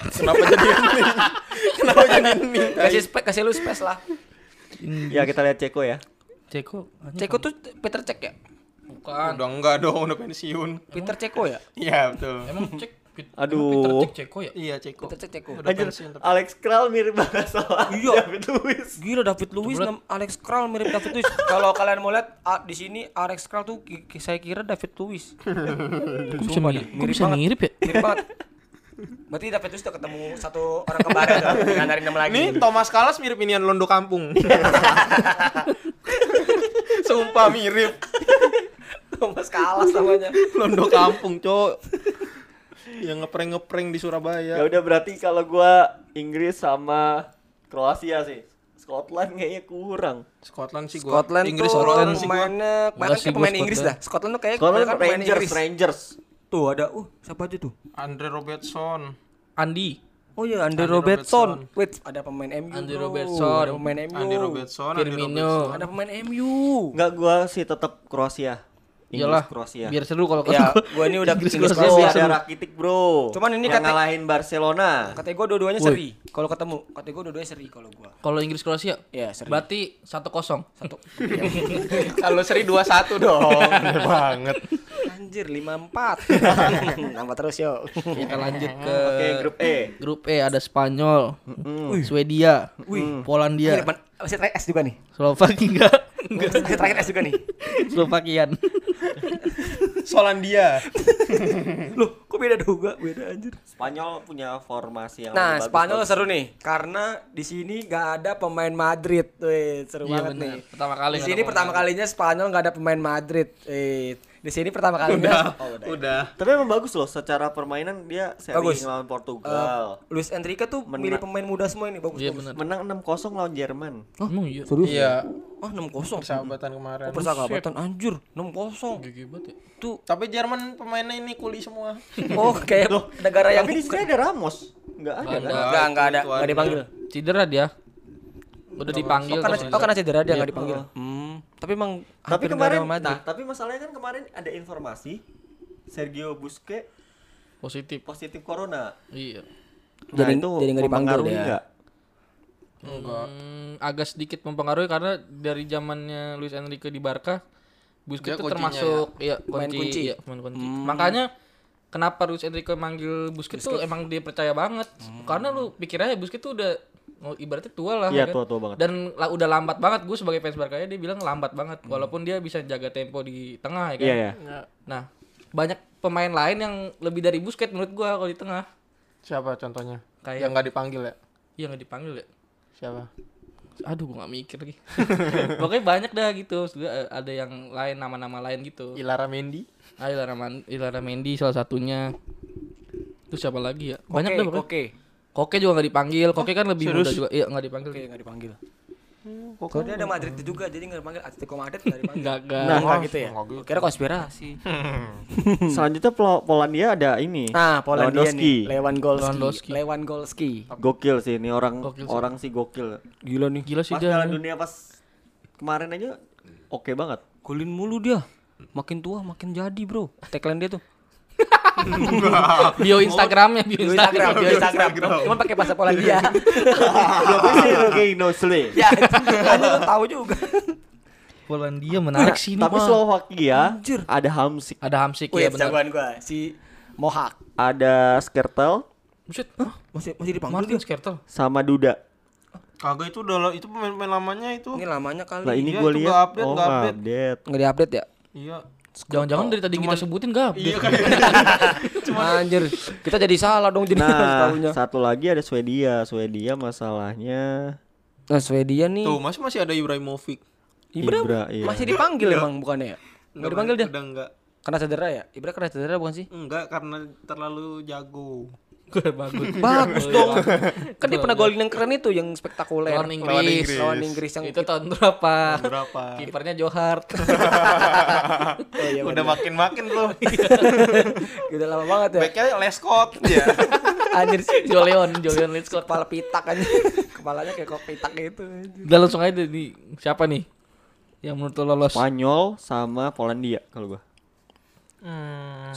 B: Kenapa jadi ini? Kenapa jadi ini?
C: Kasih space, kasih lu space lah.
A: Ya kita lihat Ceko ya.
D: Ceko.
C: Ceko tuh Peter Cek ya?
D: Bukan.
B: Udah enggak dong, udah pensiun.
C: Peter Ceko ya?
B: Iya, betul.
D: Emang cek. Pit-
A: Aduh.
D: emang Peter cek Ceko ya.
B: Iya, Ceko.
C: Peter Cek Ceko.
B: Udah
A: Anjir,
B: pensiun tapi.
A: Alex Kral mirip banget sama David Luiz.
C: Gila David Luiz
D: Coba liat.
C: nam- Alex Kral mirip David Luiz. Kalau kalian mau lihat ah, di sini Alex Kral tuh ki- ki- saya kira David Luiz.
D: Kok bisa mirip? Kok bisa
C: banget.
D: mirip ya?
C: Mirip banget. Berarti David Luiz udah ketemu satu orang kembaran udah ngandarin nama lagi.
B: Ini Thomas Kalas mirip inian Londo Kampung. *laughs* Sumpah mirip
C: Thomas Kalas namanya.
B: Londo Kampung, Cok. Yang ngeprank-ngeprank di Surabaya.
A: Ya udah berarti kalau gua Inggris sama Kroasia sih. Scotland kayaknya kurang.
B: Scotland sih gua.
C: Scotland
B: Inggris
C: tuh
B: Scotland sih gua.
C: pemainnya banyak
D: Enggak sih
C: kayak
D: gua
C: kan pemain Inggris dah.
D: Scotland.
C: Scotland tuh kayak
A: Scotland
C: kebanyakan Eh, pemain
A: Rangers,
C: Inggris.
A: Rangers.
C: Tuh ada uh siapa aja tuh?
B: Andre Robertson.
D: Andi.
C: Oh iya,
B: Andre
C: Andre Robertson. Wait, ada pemain MU.
D: Andre
C: bro.
D: Robertson.
C: ada pemain MU.
B: Andre Robertson, Andre Robertson.
D: Firmino.
C: Ada pemain MU.
A: Enggak gua sih tetap Kroasia. Inggris
D: Iyalah.
A: Kroasia.
D: Biar seru kalau
C: Ya,
D: kalau-
C: gua ini udah
D: *laughs* Inggris
C: Inggris
D: Kroasia
A: Bro,
D: biar
A: ada
D: seru.
A: Rakitic, Bro.
C: Cuman ini
A: yang
C: kata-
A: ngalahin Barcelona.
C: Katanya gue dua-duanya seri. Kalau ketemu, katanya gue dua-duanya seri kalau gue.
D: Kalau Inggris Kroasia.
C: Iya, seri.
D: Berarti 1-0.
C: Satu.
B: *laughs* Kalau seri 2-1 dong. Aneh banget.
C: Anjir, lima empat. *laughs* Nambah terus yo.
D: *laughs* Kita lanjut ke
A: Oke, grup E.
D: grup E ada Spanyol, Swedia, Polandia,
C: Depan masih terakhir S juga nih.
D: Slovakia, *laughs*
C: Masih terakhir S juga nih.
D: Slovakian.
B: Solandia.
C: *laughs* Loh, kok beda juga? Beda anjir.
A: Spanyol punya formasi yang
C: Nah,
A: lebih
C: Spanyol
A: Ya, bagus.
C: seru nih karena di sini nggak ada pemain Madrid. Wih, seru
D: Iya,
C: banget
D: bener.
C: nih.
D: Pertama kali
C: Di
D: nggak
C: sini
D: ada
C: pertama kalinya Spanyol nggak ada pemain Madrid. Eh, di sini pertama
B: Udah.
C: kalinya
B: Oh, Udah.
A: Tapi emang bagus loh secara permainan dia seri
C: Bagus.
A: ngelawan
C: Eh,
A: Portugal.
C: Luis Enrique tuh milih pemain muda semua ini bagus.
D: Iya
C: bagus.
D: benar.
A: menang 6-0 lawan Jerman.
D: Emang iya.
B: Iya,
C: Oh, 6-0.
B: persahabatan kemarin.
C: Oh, persahabatan anjir, 6-0.
D: Gigi banget ya.
C: Tuh
B: Tapi Jerman pemainnya ini kuli semua.
C: Oh, kayak negara yang
A: Tapi di sini ada Ramos. Enggak ada kan?
C: enggak enggak ada,
B: itu
C: enggak
B: ada.
C: dipanggil.
D: Cedera dia. Udah dipanggil
C: Karena
D: sama
C: oh
D: dia.
C: karena cedera dia enggak dipanggil. Hmm, tapi emang
A: Tapi
C: hampir nggak ada
A: kemarin
C: sama Madrid.
A: nah, tapi masalahnya kan kemarin ada informasi Sergio Busquets
D: positif.
A: positif corona. Nah,
D: Iya.
C: Jadi- jadi nggak dipanggil
A: mempengaruhi
C: dia.
A: nggak?
D: Hmm, agak sedikit mempengaruhi karena dari zamannya Luis Enrique di Barca
B: Dia
D: Busquets itu
B: kuncinya
D: termasuk ya,
C: Pemain
D: kunci,
C: kunci.
D: iya, pemain kunci. Makanya kenapa Luis Enrique manggil Busquets, tuh emang dia percaya banget. Karena lu pikirannya Busquets tuh udah oh, ibaratnya tua lah
A: Iya,
D: ya kan?
A: tua-tua banget.
D: Dan la- udah lambat banget gue sebagai fans Barca dia bilang lambat banget walaupun dia bisa jaga tempo di tengah ya kan.
A: Iya, iya.
D: Nah, banyak pemain lain yang lebih dari Busquets menurut gua kalau di tengah.
B: Siapa contohnya?
D: Kayak-
B: Yang nggak dipanggil ya?
D: Iya nggak dipanggil ya.
B: Siapa?
D: aduh gua gak mikir lagi pokoknya banyak dah gitu Maksud gua, eh, ada yang lain nama-nama lain gitu
B: Ilara Mendy.
D: ah Ilara, Man- Ilara Mendy salah satunya terus siapa lagi ya banyak
C: Oke,
D: dah pokoknya
C: oke.
D: Koke juga gak dipanggil Koke kan lebih muda juga iya gak dipanggil
C: Oke, enggak dipanggil. Soalnya ada Madrid juga, jadi Hmm, nggak dipanggil Atletico Madrid *laughs* nggak dipanggil.
D: Enggak, enggak.
C: Nah, enggak gitu ya. Kira konspirasi.
A: *laughs* Selanjutnya Pol- Polandia ada ini.
C: Nah, Polandia
A: Lewandowski.
C: nih, Lewandowski.
D: Lewandowski.
C: Lewandowski.
A: Gokil sih ini orang
D: Gokil sih.
A: orang sih gokil.
C: Gila nih.
D: gila sih
A: Pas
D: dia
A: Piala Dunia pas kemarin aja oke banget.
C: Golin mulu dia. Makin tua makin jadi, Bro. Tagline dia tuh.
D: Ah, bio Instagramnya, bio
C: Di
D: Instagram.
C: Instagram, di Instagram.
B: Instagram.
C: Cuman pakai bahasa Polandia.
A: Tapi no sleep.
C: *laughs* ya, hanya lu tahu *laughs* juga.
D: Polandia menarik sih ini.
A: Nah, Tapi
D: Bang.
A: Slovakia
C: Anjir.
A: ya. ada Hamsik,
D: Ada Hamsik
C: Wih,
D: ya benar.
C: jagoan gua si Mohak.
A: ada Skertel
D: Buset.
C: Masih masih dipanggil
D: Martin
C: dia.
D: Skertel.
A: sama Duda.
B: Kagak itu udah la- itu pemain-pemain lamanya itu.
C: Ini lamanya
A: Lah
C: kali.
A: ini
B: Iya,
A: gue
B: itu
A: lihat
B: nggak update,
A: oh
B: nggak
A: nggak
B: update.
A: update.
C: Enggak di-update ya?
B: Iya.
D: Jangan-jangan dari tadi kita sebutin gak?
B: Iya
D: update.
B: kan.
C: Anjir, kita jadi salah dong jadi harus
A: Nah,
C: tahunya.
A: satu lagi ada Swedia. Swedia masalahnya
C: Nah, Swedia nih.
B: *laughs* Tuh, masih masih ada Ibrahimovic.
C: Ibra,
A: Ibra, iya.
C: masih dipanggil emang bukannya ya? Enggak dipanggil dia.
B: Udah enggak.
C: Karena cedera ya? Ibra karena cedera bukan
D: *laughs*
C: sih?
B: Enggak karena terlalu jago.
D: Gue *laughs* bagus.
C: Bagus dong. Kan dia pernah golin yang keren itu yang spektakuler.
D: iya. Lawan Inggris.
C: Lawan Inggris yang
D: Itu tahun berapa?
B: Berapa? *laughs*
D: Kipernya Johart.
C: Oh, iya,
B: udah makin-makin tuh.
C: *laughs* udah lama banget ya.
B: Backnya Lescott ya.
C: Hmm. Anjir sih.
D: Joleon, Joleon Let's Go.
C: Kepala pitak aja. *laughs* Kepalanya kayak kok pitak gitu. anjir.
D: Udah langsung aja nih. Siapa nih? Yang menurut lo lolos?
A: Spanyol sama Polandia kalau gua.
B: Hmm.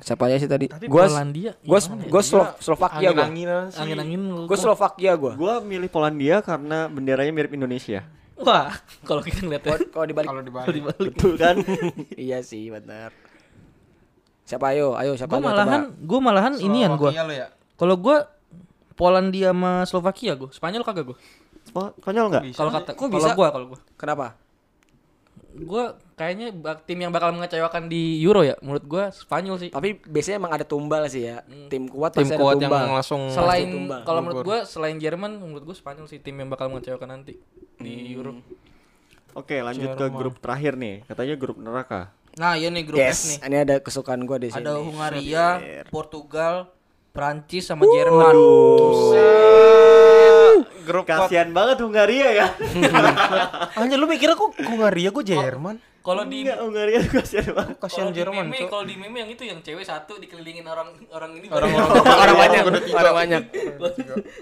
C: Siapa aja sih tadi?
D: Tapi
C: Gua
D: Polandia
C: gua
D: gimana ya?
C: gua Slo- Slovakia Iya, gua.
B: Angin-anginan sih.
D: Angin-angin lo.
C: Gua Slovakia gua.
A: Gua milih Polandia karena benderanya mirip Indonesia.
D: Wah, *laughs* kalau kita ya. ngeliatnya
C: Kalau- Kalau dibalik.
B: Kalau dibalik.
A: Betul kan?
C: *laughs* Iya sih, benar. Siapa ayo? Ayo siapa
D: Gue
C: ayo,
D: malahan, gue malahan inian gue.
B: Slovakia lu ya.
D: Kalau gue Polandia sama Slovakia gue, Spanyol kagak gue.
A: Spo- Spanyol nggak?
C: Iya.
D: Kalau kata,
C: Kok
D: kalau
C: bisa?
D: gue, kalau gue,
C: coba. Kenapa?
D: gue kayaknya bak- tim yang bakal mengecewakan di Euro ya, menurut gue Spanyol sih.
C: Tapi biasanya emang ada tumbal sih ya.
D: Hmm.
C: Tim kuat
B: tim
C: pasti
B: kuat
C: ada
B: yang
C: tumbal.
B: langsung
D: Selain
C: tumbang.
D: kalau menurut gue selain Jerman, menurut gue Spanyol sih tim yang bakal mengecewakan nanti di Euro.
A: Oke, lanjut ke grup terakhir nih. Katanya grup neraka.
D: Nah, iya nih grup
C: Yes, ini ada kesukaan gua di sini.
D: Ada Hungaria, Portugal, Prancis sama Jerman.
B: grup
A: Kasihan banget Hungaria ya.
B: Anjir lu mikirnya kok Hungaria gue Jerman?
D: Kalau di
A: Enggak, Iya, Hungaria tuh kasihan banget.
B: Kasihan Jerman
D: meme,
B: tuh.
D: kalau di meme yang itu yang cewek satu dikelilingin orang orang ini
B: Orang
A: Iya.
B: banyak, orang banyak.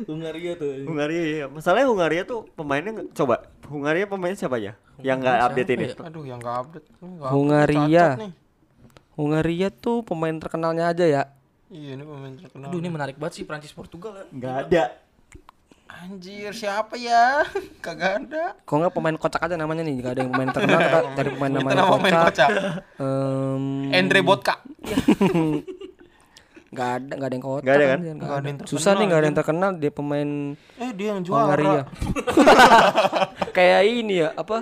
D: Hungaria tuh.
A: Hungaria ya. Masalahnya Hungaria tuh pemainnya nggak- coba Hungaria pemainnya siapa Iya. aja? Yang nggak update ini.
B: Aduh, yang enggak update. Ini nggak update,
C: Hungaria.
B: cacat nih.
C: Hungaria tuh pemain terkenalnya aja ya.
B: Iya, ini pemain terkenal.
D: Aduh ini menarik banget sih Prancis Portugal. ya.
A: Nggak ada.
B: Anjir, siapa ya? *laughs* Kagak ada.
C: Kok nggak pemain kocak aja namanya nih? Gak ada yang pemain
B: Iya,
C: terkenal kita cari pemain
B: Itu
C: namanya
B: nama Hmm. pemain
C: kocak.
B: kocak.
C: Em,
B: Andre Botka.
C: nggak ada nggak ada yang kocak.
A: Nggak ada kan?
C: anjir, nggak
B: Nggak ada
C: ada.
B: yang terkenal,
C: Susah nih nggak ada yang terkenal dia pemain
B: Eh, dia yang juara. *laughs*
C: Hungaria. Kayak ini ya apa?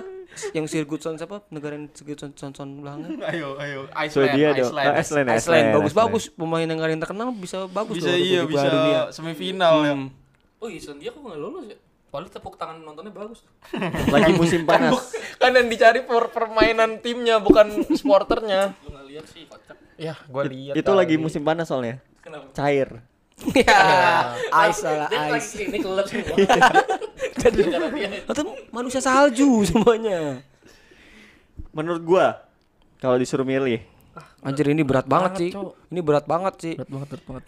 C: Yang Sigurdsson siapa? Negara yang Sigurdsson belakangnya.
B: Ayo, ayo. Iceland,
A: Swedia dong.
B: Iceland.
A: Ah, Iceland,
C: Iceland
A: Iceland,
C: bagus-bagus pemain yang nggak ada yang terkenal bisa bagus
B: Bisa
C: loh waktu
B: iya,
C: di
B: bisa
C: Piala
B: *laughs*
C: Dunia.
B: semifinal ya.
D: Oh Islandia kok nggak lolos ya? Paling tepuk tangan nontonnya bagus.
A: Iceland. *laughs* Lagi musim panas.
B: Kan yang dicari per permainan timnya bukan *laughs* sporternya.
D: Lu nggak lihat sih kocak.
B: ya, gua lihat.
A: Itu lagi musim panas soalnya.
D: Kenapa?
A: Cair.
C: Ya, ice lah
D: Dia
C: ice.
D: lagi ini kelelep sih.
C: Jadi atau manusia salju semuanya.
A: Menurut gua kalau disuruh milih
C: Anjir ini berat banget sih. Ini berat banget sih.
D: Berat banget, berat banget.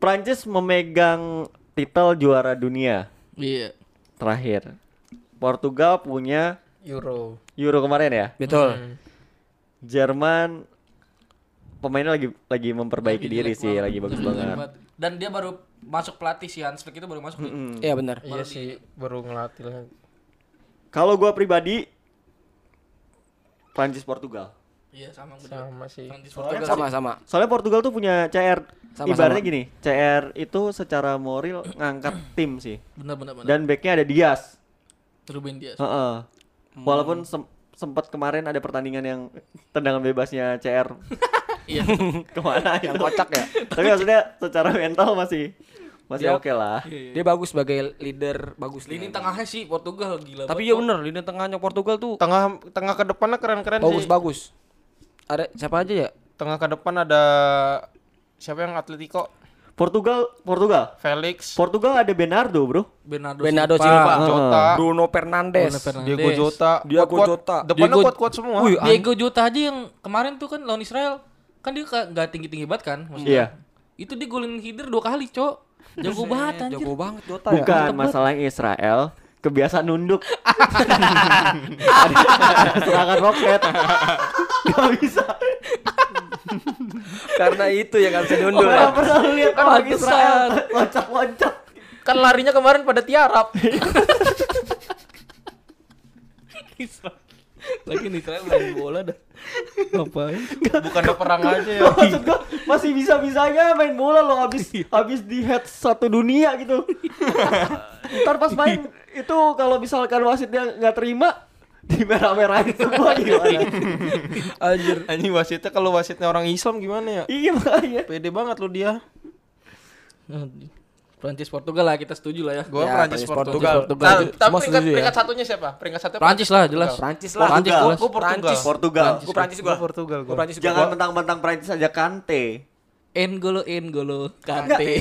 A: Prancis memegang titel juara dunia
D: Iya.
A: terakhir. Portugal punya
B: Euro.
A: Euro kemarin ya.
C: Betul.
A: Jerman pemainnya lagi lagi memperbaiki diri sih, lagi bagus banget.
D: Dan dia baru masuk pelatih si Hans Flick itu baru masuk. ya? nih.
C: Iya benar.
B: Iya sih, baru ngelatih lah.
A: Kalau gua pribadi Prancis Portugal.
D: Iya sama bener.
B: Sama sih.
D: Prancis Portugal.
C: Sama-sama.
A: Soalnya Portugal tuh punya CR
C: Sama-sama.
A: ibaratnya gini, CR itu secara moral ngangkat tim sih.
D: Bener bener bener.
A: Dan backnya ada Dias.
D: Ruben Dias.
A: Heeh.
C: Hmm.
A: Walaupun sem- sempat kemarin ada pertandingan yang tendangan bebasnya CR
D: Iya.
A: *laughs* kemana
C: Yang
A: itu.
C: kocak ya.
A: Tapi maksudnya secara mental masih masih
C: Ya.
A: oke lah.
C: Dia bagus sebagai leader, bagus
D: Lini
C: leader.
D: tengahnya sih Portugal gila.
C: Tapi
D: banget.
C: ya benar, lini tengahnya Portugal tuh
B: Tengah tengah ke depannya keren-keren sih.
C: bagus-bagus. Ada siapa aja ya?
B: Tengah ke depan ada siapa yang Atletico?
A: Portugal, Portugal.
B: Felix,
A: Portugal ada Bernardo, Bro.
D: Bernardo,
C: Bernardo
D: Silva.
C: Silva,
B: Jota,
C: Bruno Fernandes.
D: Bruno Fernandes.
B: Diego Jota,
C: ah. Diego
B: Kuat-kuat.
C: Jota.
B: Depannya
C: Diego-
B: kuat-kuat semua.
C: Wih,
D: Diego Jota aja yang kemarin tuh kan lawan Israel kan dia ka- nggak tinggi tinggi banget kan maksudnya.
A: Iya.
D: Itu dia golin Hider dua kali cok. Jago banget anjir.
C: Jago banget Jota ya.
A: Bukan masalah Israel, kebiasaan nunduk. ada, ada serangan roket. Gak bisa.
C: *laughs* Karena itu yang nggak bisa diundur. ya. Kan
A: Orang pernah lu lihat orang
D: Pantesan.
A: Israel loncat-loncat.
D: Kan larinya kemarin pada tiarap. Lagi nih Israel main bola dah. *laughs* Ngapain?
B: Bukan ada perang aja ya.
A: Maksud gua masih bisa-bisanya main bola lo habis habis di head satu dunia gitu. Ntar pas main itu kalau misalkan wasitnya nggak terima di merah-merahin semua gitu. gimana?
C: Anjir.
B: Anjing wasitnya kalau wasitnya orang Islam gimana ya?
A: iya makanya.
B: Pede banget lu dia.
D: Prancis Portugal lah kita setuju lah ya.
B: Gua
C: Ya,
B: Prancis
C: Prancis,
B: Portugal.
D: Portugal.
B: Nah, tapi
C: Semua
B: peringkat,
C: setuju ya?
B: peringkat satunya siapa? Peringkat satunya
D: Prancis lah jelas.
C: Prancis lah.
D: Prancis
A: Portugal.
D: jelas.
B: Gua Portugal.
C: Prancis.
A: Portugal.
C: Gue Prancis gue.
B: Portugal
C: Gue
B: gua.
C: Prancis gua.
A: Jangan mentang-mentang Prancis aja Kante.
D: Engolo Engolo
A: Enggak,
D: Kante.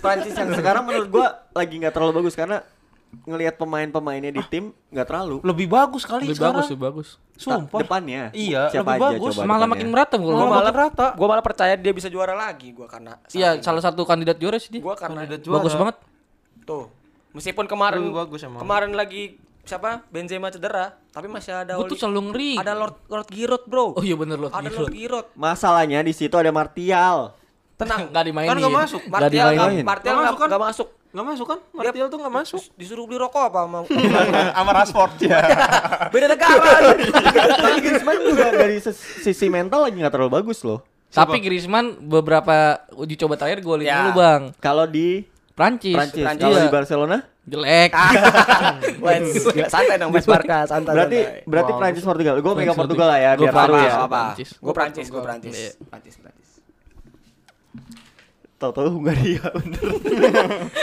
A: Prancis yang sekarang menurut gua lagi nggak terlalu bagus karena ngelihat pemain-pemainnya di tim nggak terlalu.
B: Lebih bagus kali
D: Lebih
B: sekarang.
D: bagus, lebih bagus.
B: Sumpah.
A: Depannya.
B: Iya,
A: Siapa
B: lebih
A: aja coba
B: bagus.
D: Malah
A: depannya?
D: makin meratem kalau
B: Malah
D: gua malah.
B: makin rata.
C: Gue malah percaya dia bisa juara lagi gue karena.
D: Iya, salah satu kandidat juara sih dia.
C: Gue karena.
D: Bagus banget.
C: Tuh. Meskipun kemarin
B: Lebih bagus emang.
C: Kemarin lagi siapa? Benzema cedera, tapi masih ada
D: Gue
C: Oli-
D: tuh selalu ngeri.
C: ada Lord Lord Giroud, Bro.
D: Oh iya bener loh.
C: ada Lord Giroud.
A: Masalahnya di situ ada Martial.
D: Tenang, nggak dimainin. ya.
B: Kan nggak masuk.
D: Nggak
C: Martial
D: dimainin.
C: nggak- Martial
B: Nggak
C: nggak
B: masuk kan?
C: nggak masuk.
B: Enggak masuk kan? Martial tuh enggak masuk.
C: Disuruh beli rokok apa mau?
B: *laughs* Sama Rashford ya.
C: *laughs* Beda
B: *laughs*
C: negara.
A: Kan Griezmann juga dari ses- sisi mental lagi nggak terlalu bagus loh.
D: Tapi Griezmann beberapa uji coba terakhir gue lihat
C: Ya.
D: dulu bang.
A: Kalau di
D: Prancis.
A: Prancis,
C: Prancis. Ah.
A: kalau di
D: Iya.
A: Barcelona
D: Jelek.
C: Wes, santai dong Wes Barca, santai.
A: berarti
C: santai.
A: berarti Prancis Portugal. Gue megang Portugal lah ya
D: Gua
A: biar
D: Prancis.
A: seru ya.
D: Gua
C: apa?
D: Prancis.
C: Gue Prancis, gue Prancis.
D: Iya.
C: Prancis, Prancis.
A: Tahu-tahu Hungaria bener.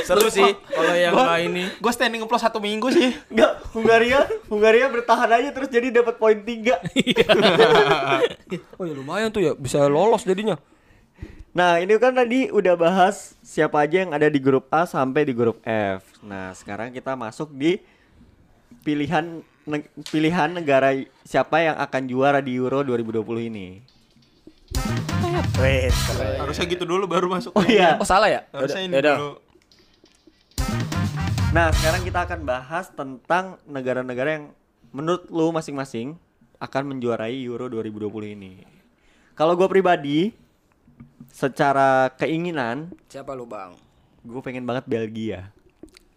C: Seru sih kalau yang
B: Gua-
C: ini.
B: Gua standing plus satu minggu sih.
A: Enggak, Hungaria, Hungaria bertahan aja terus jadi dapat poin 3.
C: Oh ya lumayan tuh ya bisa lolos jadinya.
A: Nah, ini kan tadi udah bahas siapa aja yang ada di grup A sampai di grup F. Nah, sekarang kita masuk di pilihan neg- pilihan negara y- siapa yang akan juara di Euro 2020 ini.
C: Wes.
B: Harusnya gitu dulu baru masuk.
A: Oh iya.
C: Oh salah ya?
B: Harusnya ini
C: Yaudah.
B: dulu.
A: Nah, sekarang kita akan bahas tentang negara-negara yang menurut lu masing-masing akan menjuarai Euro 2020 ini. Kalau gue pribadi secara keinginan
C: Siapa lu, Bang?
A: gue pengen banget Belgia.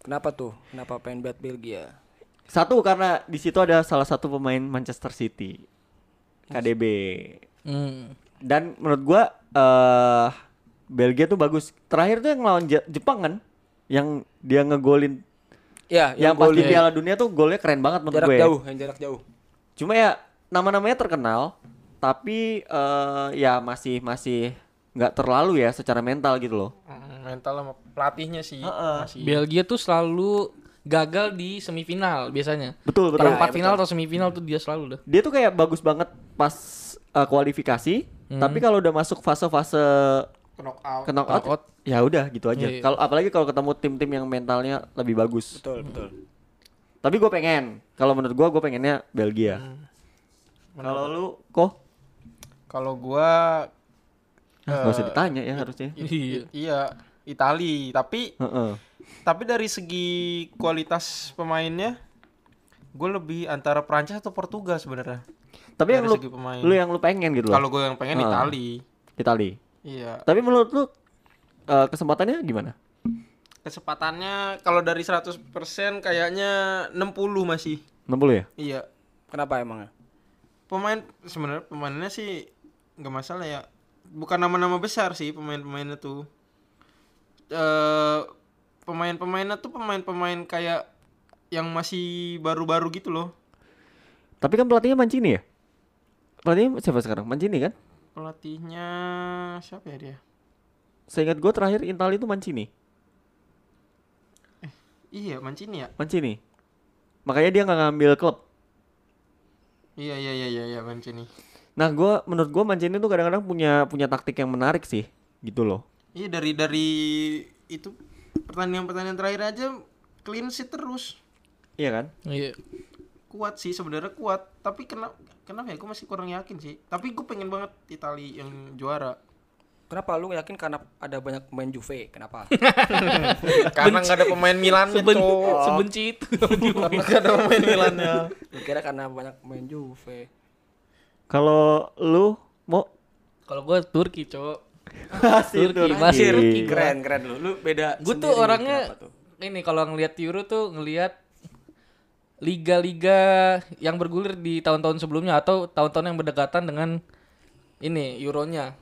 C: Kenapa tuh? Kenapa pengen bet Belgia?
A: Satu karena di situ ada salah satu pemain Manchester City, KDB.
D: Hmm.
A: Dan menurut gua eh Belgia tuh bagus. Terakhir tuh yang lawan Je- Jepang kan, yang dia ngegolin
C: Ya,
A: yang, pasti Piala Dunia tuh golnya keren banget menurut
C: jarak
A: gue.
C: jauh, yang jarak jauh.
A: Cuma ya nama-namanya terkenal, tapi eh ya masih masih nggak terlalu ya secara mental gitu loh.
B: Mm, Mental sama pelatihnya sih. Masih.
D: Belgia tuh selalu gagal di semifinal biasanya.
A: Betul Iya, betul.
D: Perempat final atau semifinal tuh dia selalu dah.
A: dia tuh kayak bagus banget pas eh, kualifikasi tapi kalau udah masuk fase-fase
B: Knockout.
A: ke knockout,
D: Knockout.
A: ya udah gitu aja
D: Iya, iya.
A: kalau apalagi kalau ketemu tim-tim yang mentalnya lebih bagus
C: Betul, betul.
A: tapi gue pengen kalau menurut gue gue pengennya Belgia
B: Hmm.
A: kalau lu kok
B: Kalau gua
A: Ah, nggak usah ditanya ya harusnya
D: Iya.
B: iya Itali, tapi
A: Heeh.
B: tapi dari segi kualitas pemainnya gue lebih antara Prancis atau Portugal sebenarnya.
A: tapi yang
B: Dari
A: lu
B: segi pemain.
A: lu yang lu pengen gitu
B: Kalau
A: loh
B: gue yang pengen
A: Ah.
B: Itali.
A: Itali
B: Iya.
A: tapi menurut lu eh, kesempatannya gimana
B: Kesempatannya kalau dari 100% kayaknya 60 masih.
A: 60 ya
B: Iya.
C: Kenapa emangnya?
B: Pemain sebenarnya pemainnya sih nggak masalah ya. Bukan nama-nama besar sih pemain-pemainnya tuh. Eh pemain-pemainnya tuh pemain-pemain kayak yang masih baru-baru gitu loh.
A: tapi kan pelatihnya Mancini ya pelatihnya siapa sekarang Mancini kan
B: Pelatihnya siapa ya dia?
A: seingat gue terakhir Itali itu Mancini
B: Iya, Mancini ya?
A: Mancini. Makanya dia nggak ngambil klub.
B: Iya, iya, iya, iya, iya Mancini.
A: Nah, gua menurut gua Mancini tuh kadang-kadang punya punya taktik yang menarik sih, gitu loh.
B: Iya, dari dari itu pertandingan-pertandingan terakhir aja clean sheet terus.
A: Iya kan?
D: Iya.
B: Kuat sih sebenarnya kuat, tapi kenapa kenapa ya gue masih kurang yakin sih. Tapi gue pengen banget Itali yang juara.
C: Kenapa lu yakin karena ada banyak pemain Juve? Kenapa?
B: Karena nggak ada pemain Milan
D: Seben- sebenci
C: *laughs*
D: itu.
C: Karena ada pemain *laughs* Milannya. Lu kira karena banyak pemain Juve.
A: *laughs* Kalau lu mau
D: Kalau gua Turki, cowok.
A: Masih
D: Turki,
A: Turki.
C: Iya.
D: masih Turki.
C: Keren, keren lu. Lu beda.
D: Gue tuh
C: sendiri.
D: orangnya
C: Kenapa tuh?
D: ini kalau ngelihat Euro tuh ngelihat liga-liga yang bergulir di tahun-tahun sebelumnya atau tahun-tahun yang berdekatan dengan ini Euronya.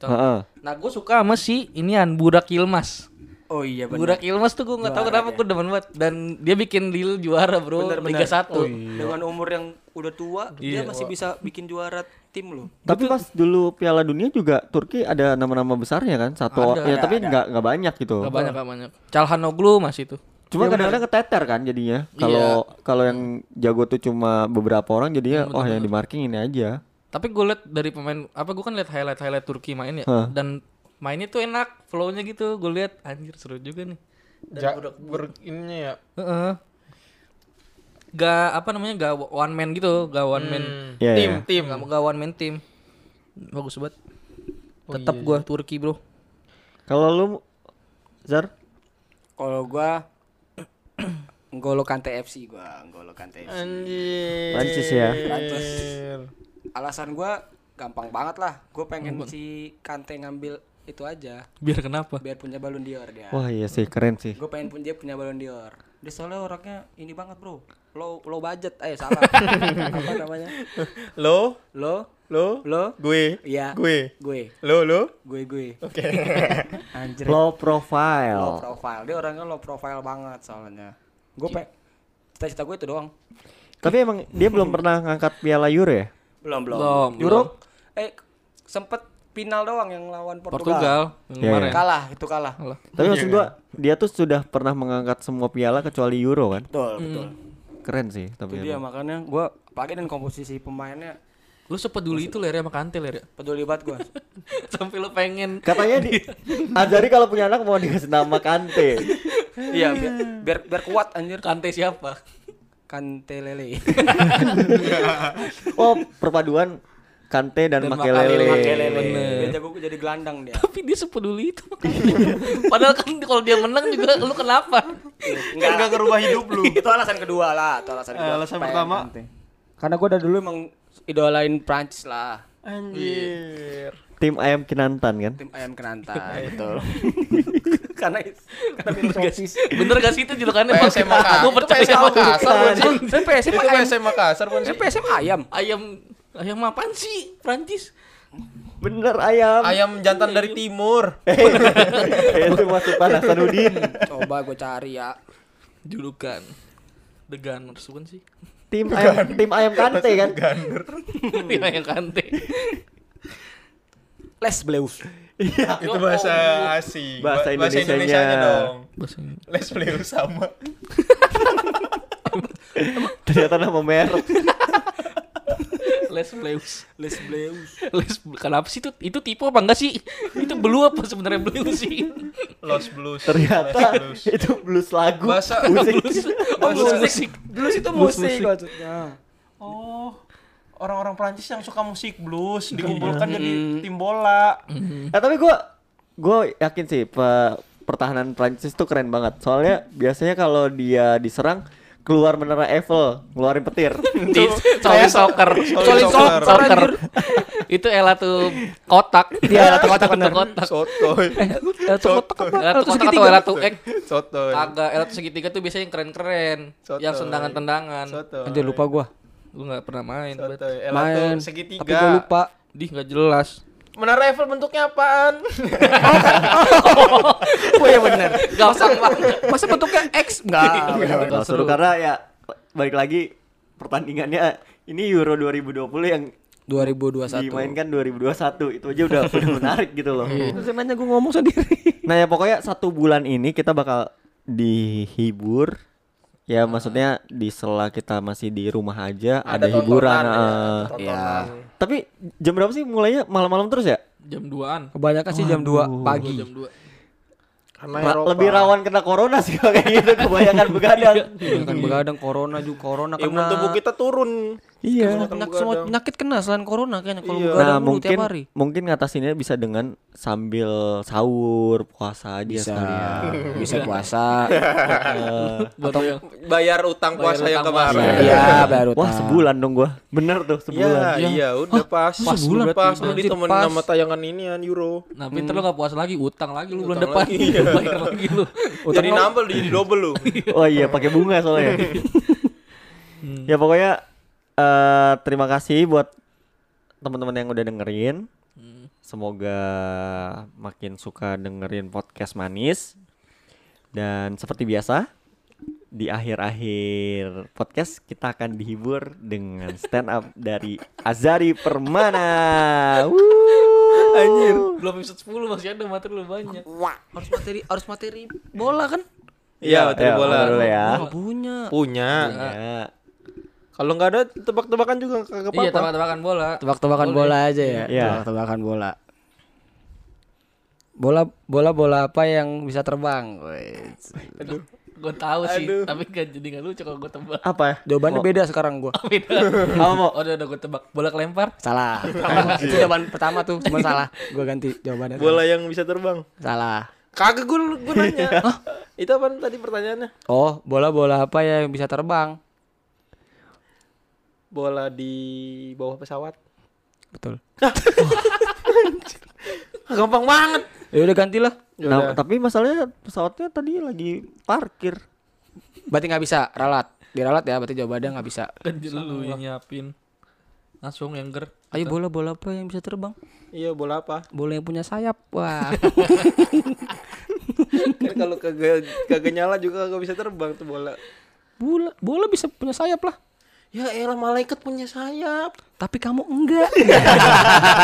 D: Contoh-
A: Heeh.
D: Nah, gue suka sama si inian Burak Yilmaz.
C: Oh iya benar.
D: Burak Yilmaz tuh gue nggak tahu kenapa gue demen banget dan dia bikin deal juara, Bro, Liga 1.
C: Oh, Dengan umur yang udah tua, dia masih bisa bikin juara tim lu.
A: Tapi pas dulu Piala Dunia juga Turki ada nama-nama besarnya kan? Satu ya tapi nggak nggak banyak gitu.
D: Gak banyak, gak banyak. Calhanoglu masih tuh.
A: Cuma kadang-kadang keteter kan jadinya. Kalau kalau yang jago tuh cuma beberapa orang jadinya oh yang di marking ini aja.
D: Tapi gue liat dari pemain apa gue kan liat highlight highlight Turki main ya dan mainnya tuh enak, flow-nya gitu. Gue liat anjir seru juga nih. Dan
B: Ja, ber, ininya ya
D: Heeh. Gak apa namanya gak one man gitu, gak one man.
A: Iya,
B: tim
A: iya.
B: tim
D: Gak, gak one man team. Bagus banget. Tetap gua Turki, Bro.
A: Kalau lu Zar
C: Kalau gua *clears throat* Ngolo Kante FC gua, Ngolo Kante FC.
B: anjir
A: Prancis ya.
C: Alasan gua gampang banget lah. Gua pengen si Kante ngambil itu aja
D: Biar kenapa?
C: biar punya balon dior dia.
A: Wah iya sih keren sih.
C: Gue pengen pun dia punya balon dior. Dia soalnya orangnya ini banget bro. Low low budget, eh *laughs* salah. Apa namanya?
B: lo
C: Low
B: lo
C: low
B: gue
C: Iya.
B: gue
C: gue
B: lo lo
C: gue gue
B: oke
C: *laughs* anjir
A: Low
C: low
A: profile.
C: profile dia orangnya low profile banget soalnya gue pe cita-cita gue itu doang
A: Tapi emang dia belum pernah ngangkat Piala Euro ya?
C: belum
D: Belum,
C: Euro eh sempet final doang yang lawan Portugal,
D: Portugal yang
A: Iya,
D: kemarin.
C: kalah itu kalah
D: Kalah.
A: Tapi maksud gua dia tuh sudah pernah mengangkat semua piala kecuali Euro kan?
C: betul betul
A: Keren sih
C: itu
A: tapi.
C: dia
A: emang.
C: makanya gue apalagi dan komposisi pemainnya
D: Lu sepeduli itu ler sama Kante ler ya? *laughs*
C: peduli banget gue
D: Sampai lu pengen
A: Katanya di Azari kalau punya anak mau dikasih nama Kante.
C: iya biar, *laughs* biar biar kuat anjir
D: Kante siapa?
C: kante *laughs* lele
A: Oh, perpaduan Kante dan, Makelele.
C: Makelele. dia jago gua jadi gelandang dia
D: *laughs* Tapi dia sepeduli itu sama Kante. *laughs* Padahal kan kalau dia menang juga lu
C: *laughs*
D: kenapa?
C: Enggak.
B: nggak ngerubah hidup lu
C: itu alasan kedua lah itu alasan kedua
B: Eh, alasan
C: Pengen
B: pertama.
C: Kante. karena gue dari dulu emang idolain Prancis lah
B: anjir
A: Tim ayam Kinantan kan?
C: tim ayam kenanta
B: *laughs*
C: betul *laughs* karena karena minum sosis
D: Bener gak sih itu julukannya?
B: PSM Makassar.
D: Gue percaya sama
B: Makassar,
D: Makassar.
B: anjing.
C: Saya PSM
B: itu
C: ayam.
B: PSM Makassar bukan
C: saya
B: sih?
C: PSM ayam
D: Ayam ayam apaan sih? Prancis.
A: Bener ayam.
B: ayam jantan dari timur
A: Eh, *laughs* itu masuk panas Sanudin.
C: coba gue cari ya
D: julukan The Gunners bukan sih?
A: Tim ayam tim ayam Kante kan?
D: *laughs* Iya yang kante.
C: Les Bleus
A: Iya.
B: itu bahasa asing Ba-
A: Bahasa Indonesianya.
B: Indonesianya dong
D: Bahasa Inggris.
B: les beliau sama
A: Ternyata nama merek.
D: Les Bleus.
C: Les Bleus
D: Les kenapa sih itu itu tipe apa enggak sih? Itu belu apa sebenarnya belu sih?
B: los blues
A: Ternyata
B: Les blues.
A: itu blues lagu.
B: bahasa
A: Musik.
D: Oh, musik.
C: Blues itu musik maksudnya
B: oh orang-orang Prancis yang suka musik blues dikumpulkan jadi tim bola
A: Eh, tapi gua gua yakin sih pe- pertahanan Prancis tuh keren banget. Soalnya biasanya kalau dia diserang keluar menara Eiffel, ngeluarin petir.
D: Di solid soccer.
B: Solid soccer.
D: Itu Ella tuh *laughs* kotak.
C: Iya, Ella tuh kotak,
D: Ella
C: bener.
D: tuh kotak.
B: sotoy
C: Eh, kotak apa?
D: Ella tuh kotak atau
C: segitiga?
D: Ella tuh ek.
B: sotoy
D: Kagak Ella tuh segitiga tuh biasanya yang keren-keren,
B: Sotoy.
D: yang tendangan-tendangan.
B: sotoy
C: Anjir lupa gue
D: Lu nggak pernah main. Bet.
B: sotoy Ella tuh
C: main
B: segitiga
C: tapi gue lupa
D: Dih nggak jelas.
B: menara Eiffel bentuknya apaan
C: oh iya bener
D: Gampang banget.
C: masa bentuknya X
D: Ah,
C: enggak
A: Nggak Iya, seru karena ya balik lagi pertandingannya ini Euro 2020 yang
C: 2021
A: dimainkan 2021 itu aja udah udah menarik gitu loh.
C: Iya. Terus nanya gue ngomong sendiri
A: Nah ya pokoknya satu bulan ini kita bakal dihibur ya
C: Ah.
A: maksudnya di sela kita masih di rumah aja ada, hiburan eh, ya. Tapi jam berapa sih mulainya malam-malam terus ya?
D: *laughs* Jam 2-an.
C: kebanyakan sih jam 2 pagi
D: Jam 2.
B: karena
A: Ra- lebih rawan kena corona sih *laughs*
C: *laughs*
A: kalau kayak gitu kebanyakan begadang.
C: Iya kan begadang Iya corona juga corona
B: imun
C: kena.
B: tubuh kita turun
A: Iya.
B: Kebanyakan
C: Penyakit, semua
B: begadang.
C: penyakit kena selain corona kayaknya kalau
B: Iya.
C: begadang
A: Nah,
C: mulu
A: mungkin
C: tiap hari.
A: mungkin ngatasinnya bisa dengan sambil sahur, puasa aja
C: Bisa,
A: sekalian.
C: bisa puasa.
A: Eh,
D: Atau
B: bayar utang
D: Bayar
B: puasa yang
D: utang puasa.
B: kemarin.
C: Iya, baru
A: Wah,
C: tahu.
A: sebulan dong gua. Bener tuh
B: Iya,
A: sebulan.
B: iya, udah pas.
C: pas sebulan?
B: pas
C: Anjir,
B: lu ditemenin
C: pas.
B: sama tayangan ini an Euro.
D: Nah, pinter lu gak puas lagi, utang lagi lu bulan
B: Utang
D: depan.
B: lagi, iya.
D: *laughs* Bayar lagi
B: *laughs*
D: lu.
B: jadi nambah lu jadi double lu.
A: Oh iya, pakai bunga soalnya. ya pokoknya eh terima kasih buat teman-teman yang udah dengerin. Semoga makin suka dengerin podcast manis. Dan seperti biasa di akhir-akhir podcast kita akan dihibur dengan stand up dari Azari Permana. Anjir.
D: Belum episode 10 masih ada materi lu banyak.
C: Harus materi harus materi bola kan?
B: Iya, betul bola.
A: Dulu ya.
C: Nggak punya.
B: Punya.
A: Ya.
B: Kalau nggak ada tebak-tebakan juga kagak
D: Iya,
B: apa-apa.
D: tebak-tebakan bola.
C: Tebak-tebakan
D: Boleh.
C: bola aja ya.
A: Iya.
C: Tebak-tebakan bola. Bola bola bola apa yang bisa terbang? Wait.
D: Gue tahu sih, tapi gak jadi gak lucu kalau gue tebak. *laughs*
A: Apa ya?
C: Jawabannya beda sekarang gua.
D: Beda.
B: *laughs*
D: Oh, udah udah gue tebak. Bola kelempar.
C: Salah. *laughs* Iya. Itu jawaban pertama tuh, *laughs* cuma salah. Gua ganti jawabannya.
B: Iya. Bola yang bisa terbang.
C: Salah.
B: Kagak gue *laughs* gue nanya. Itu apa tadi pertanyaannya?
C: Oh, bola bola apa yang bisa terbang?
B: Bola di bawah pesawat.
C: Betul.
B: *laughs* Gampang banget.
C: Ya udah gantilah.
A: Nah, tapi masalahnya pesawatnya tadi lagi parkir.
C: Berarti nggak bisa ralat. Diralat ya, berarti jawabannya nggak bisa.
D: Kan jadi lu yang nyiapin. Langsung yang ger.
C: Ayo bola bola apa yang bisa terbang?
B: Iya, bola apa?
C: Bola yang punya sayap. Wah. *laughs*
B: Kan kalau kagak kagak nyala juga kagak bisa terbang tuh bola.
C: bola bola bisa punya sayap lah.
B: Ya elah malaikat punya sayap.
C: Tapi kamu enggak.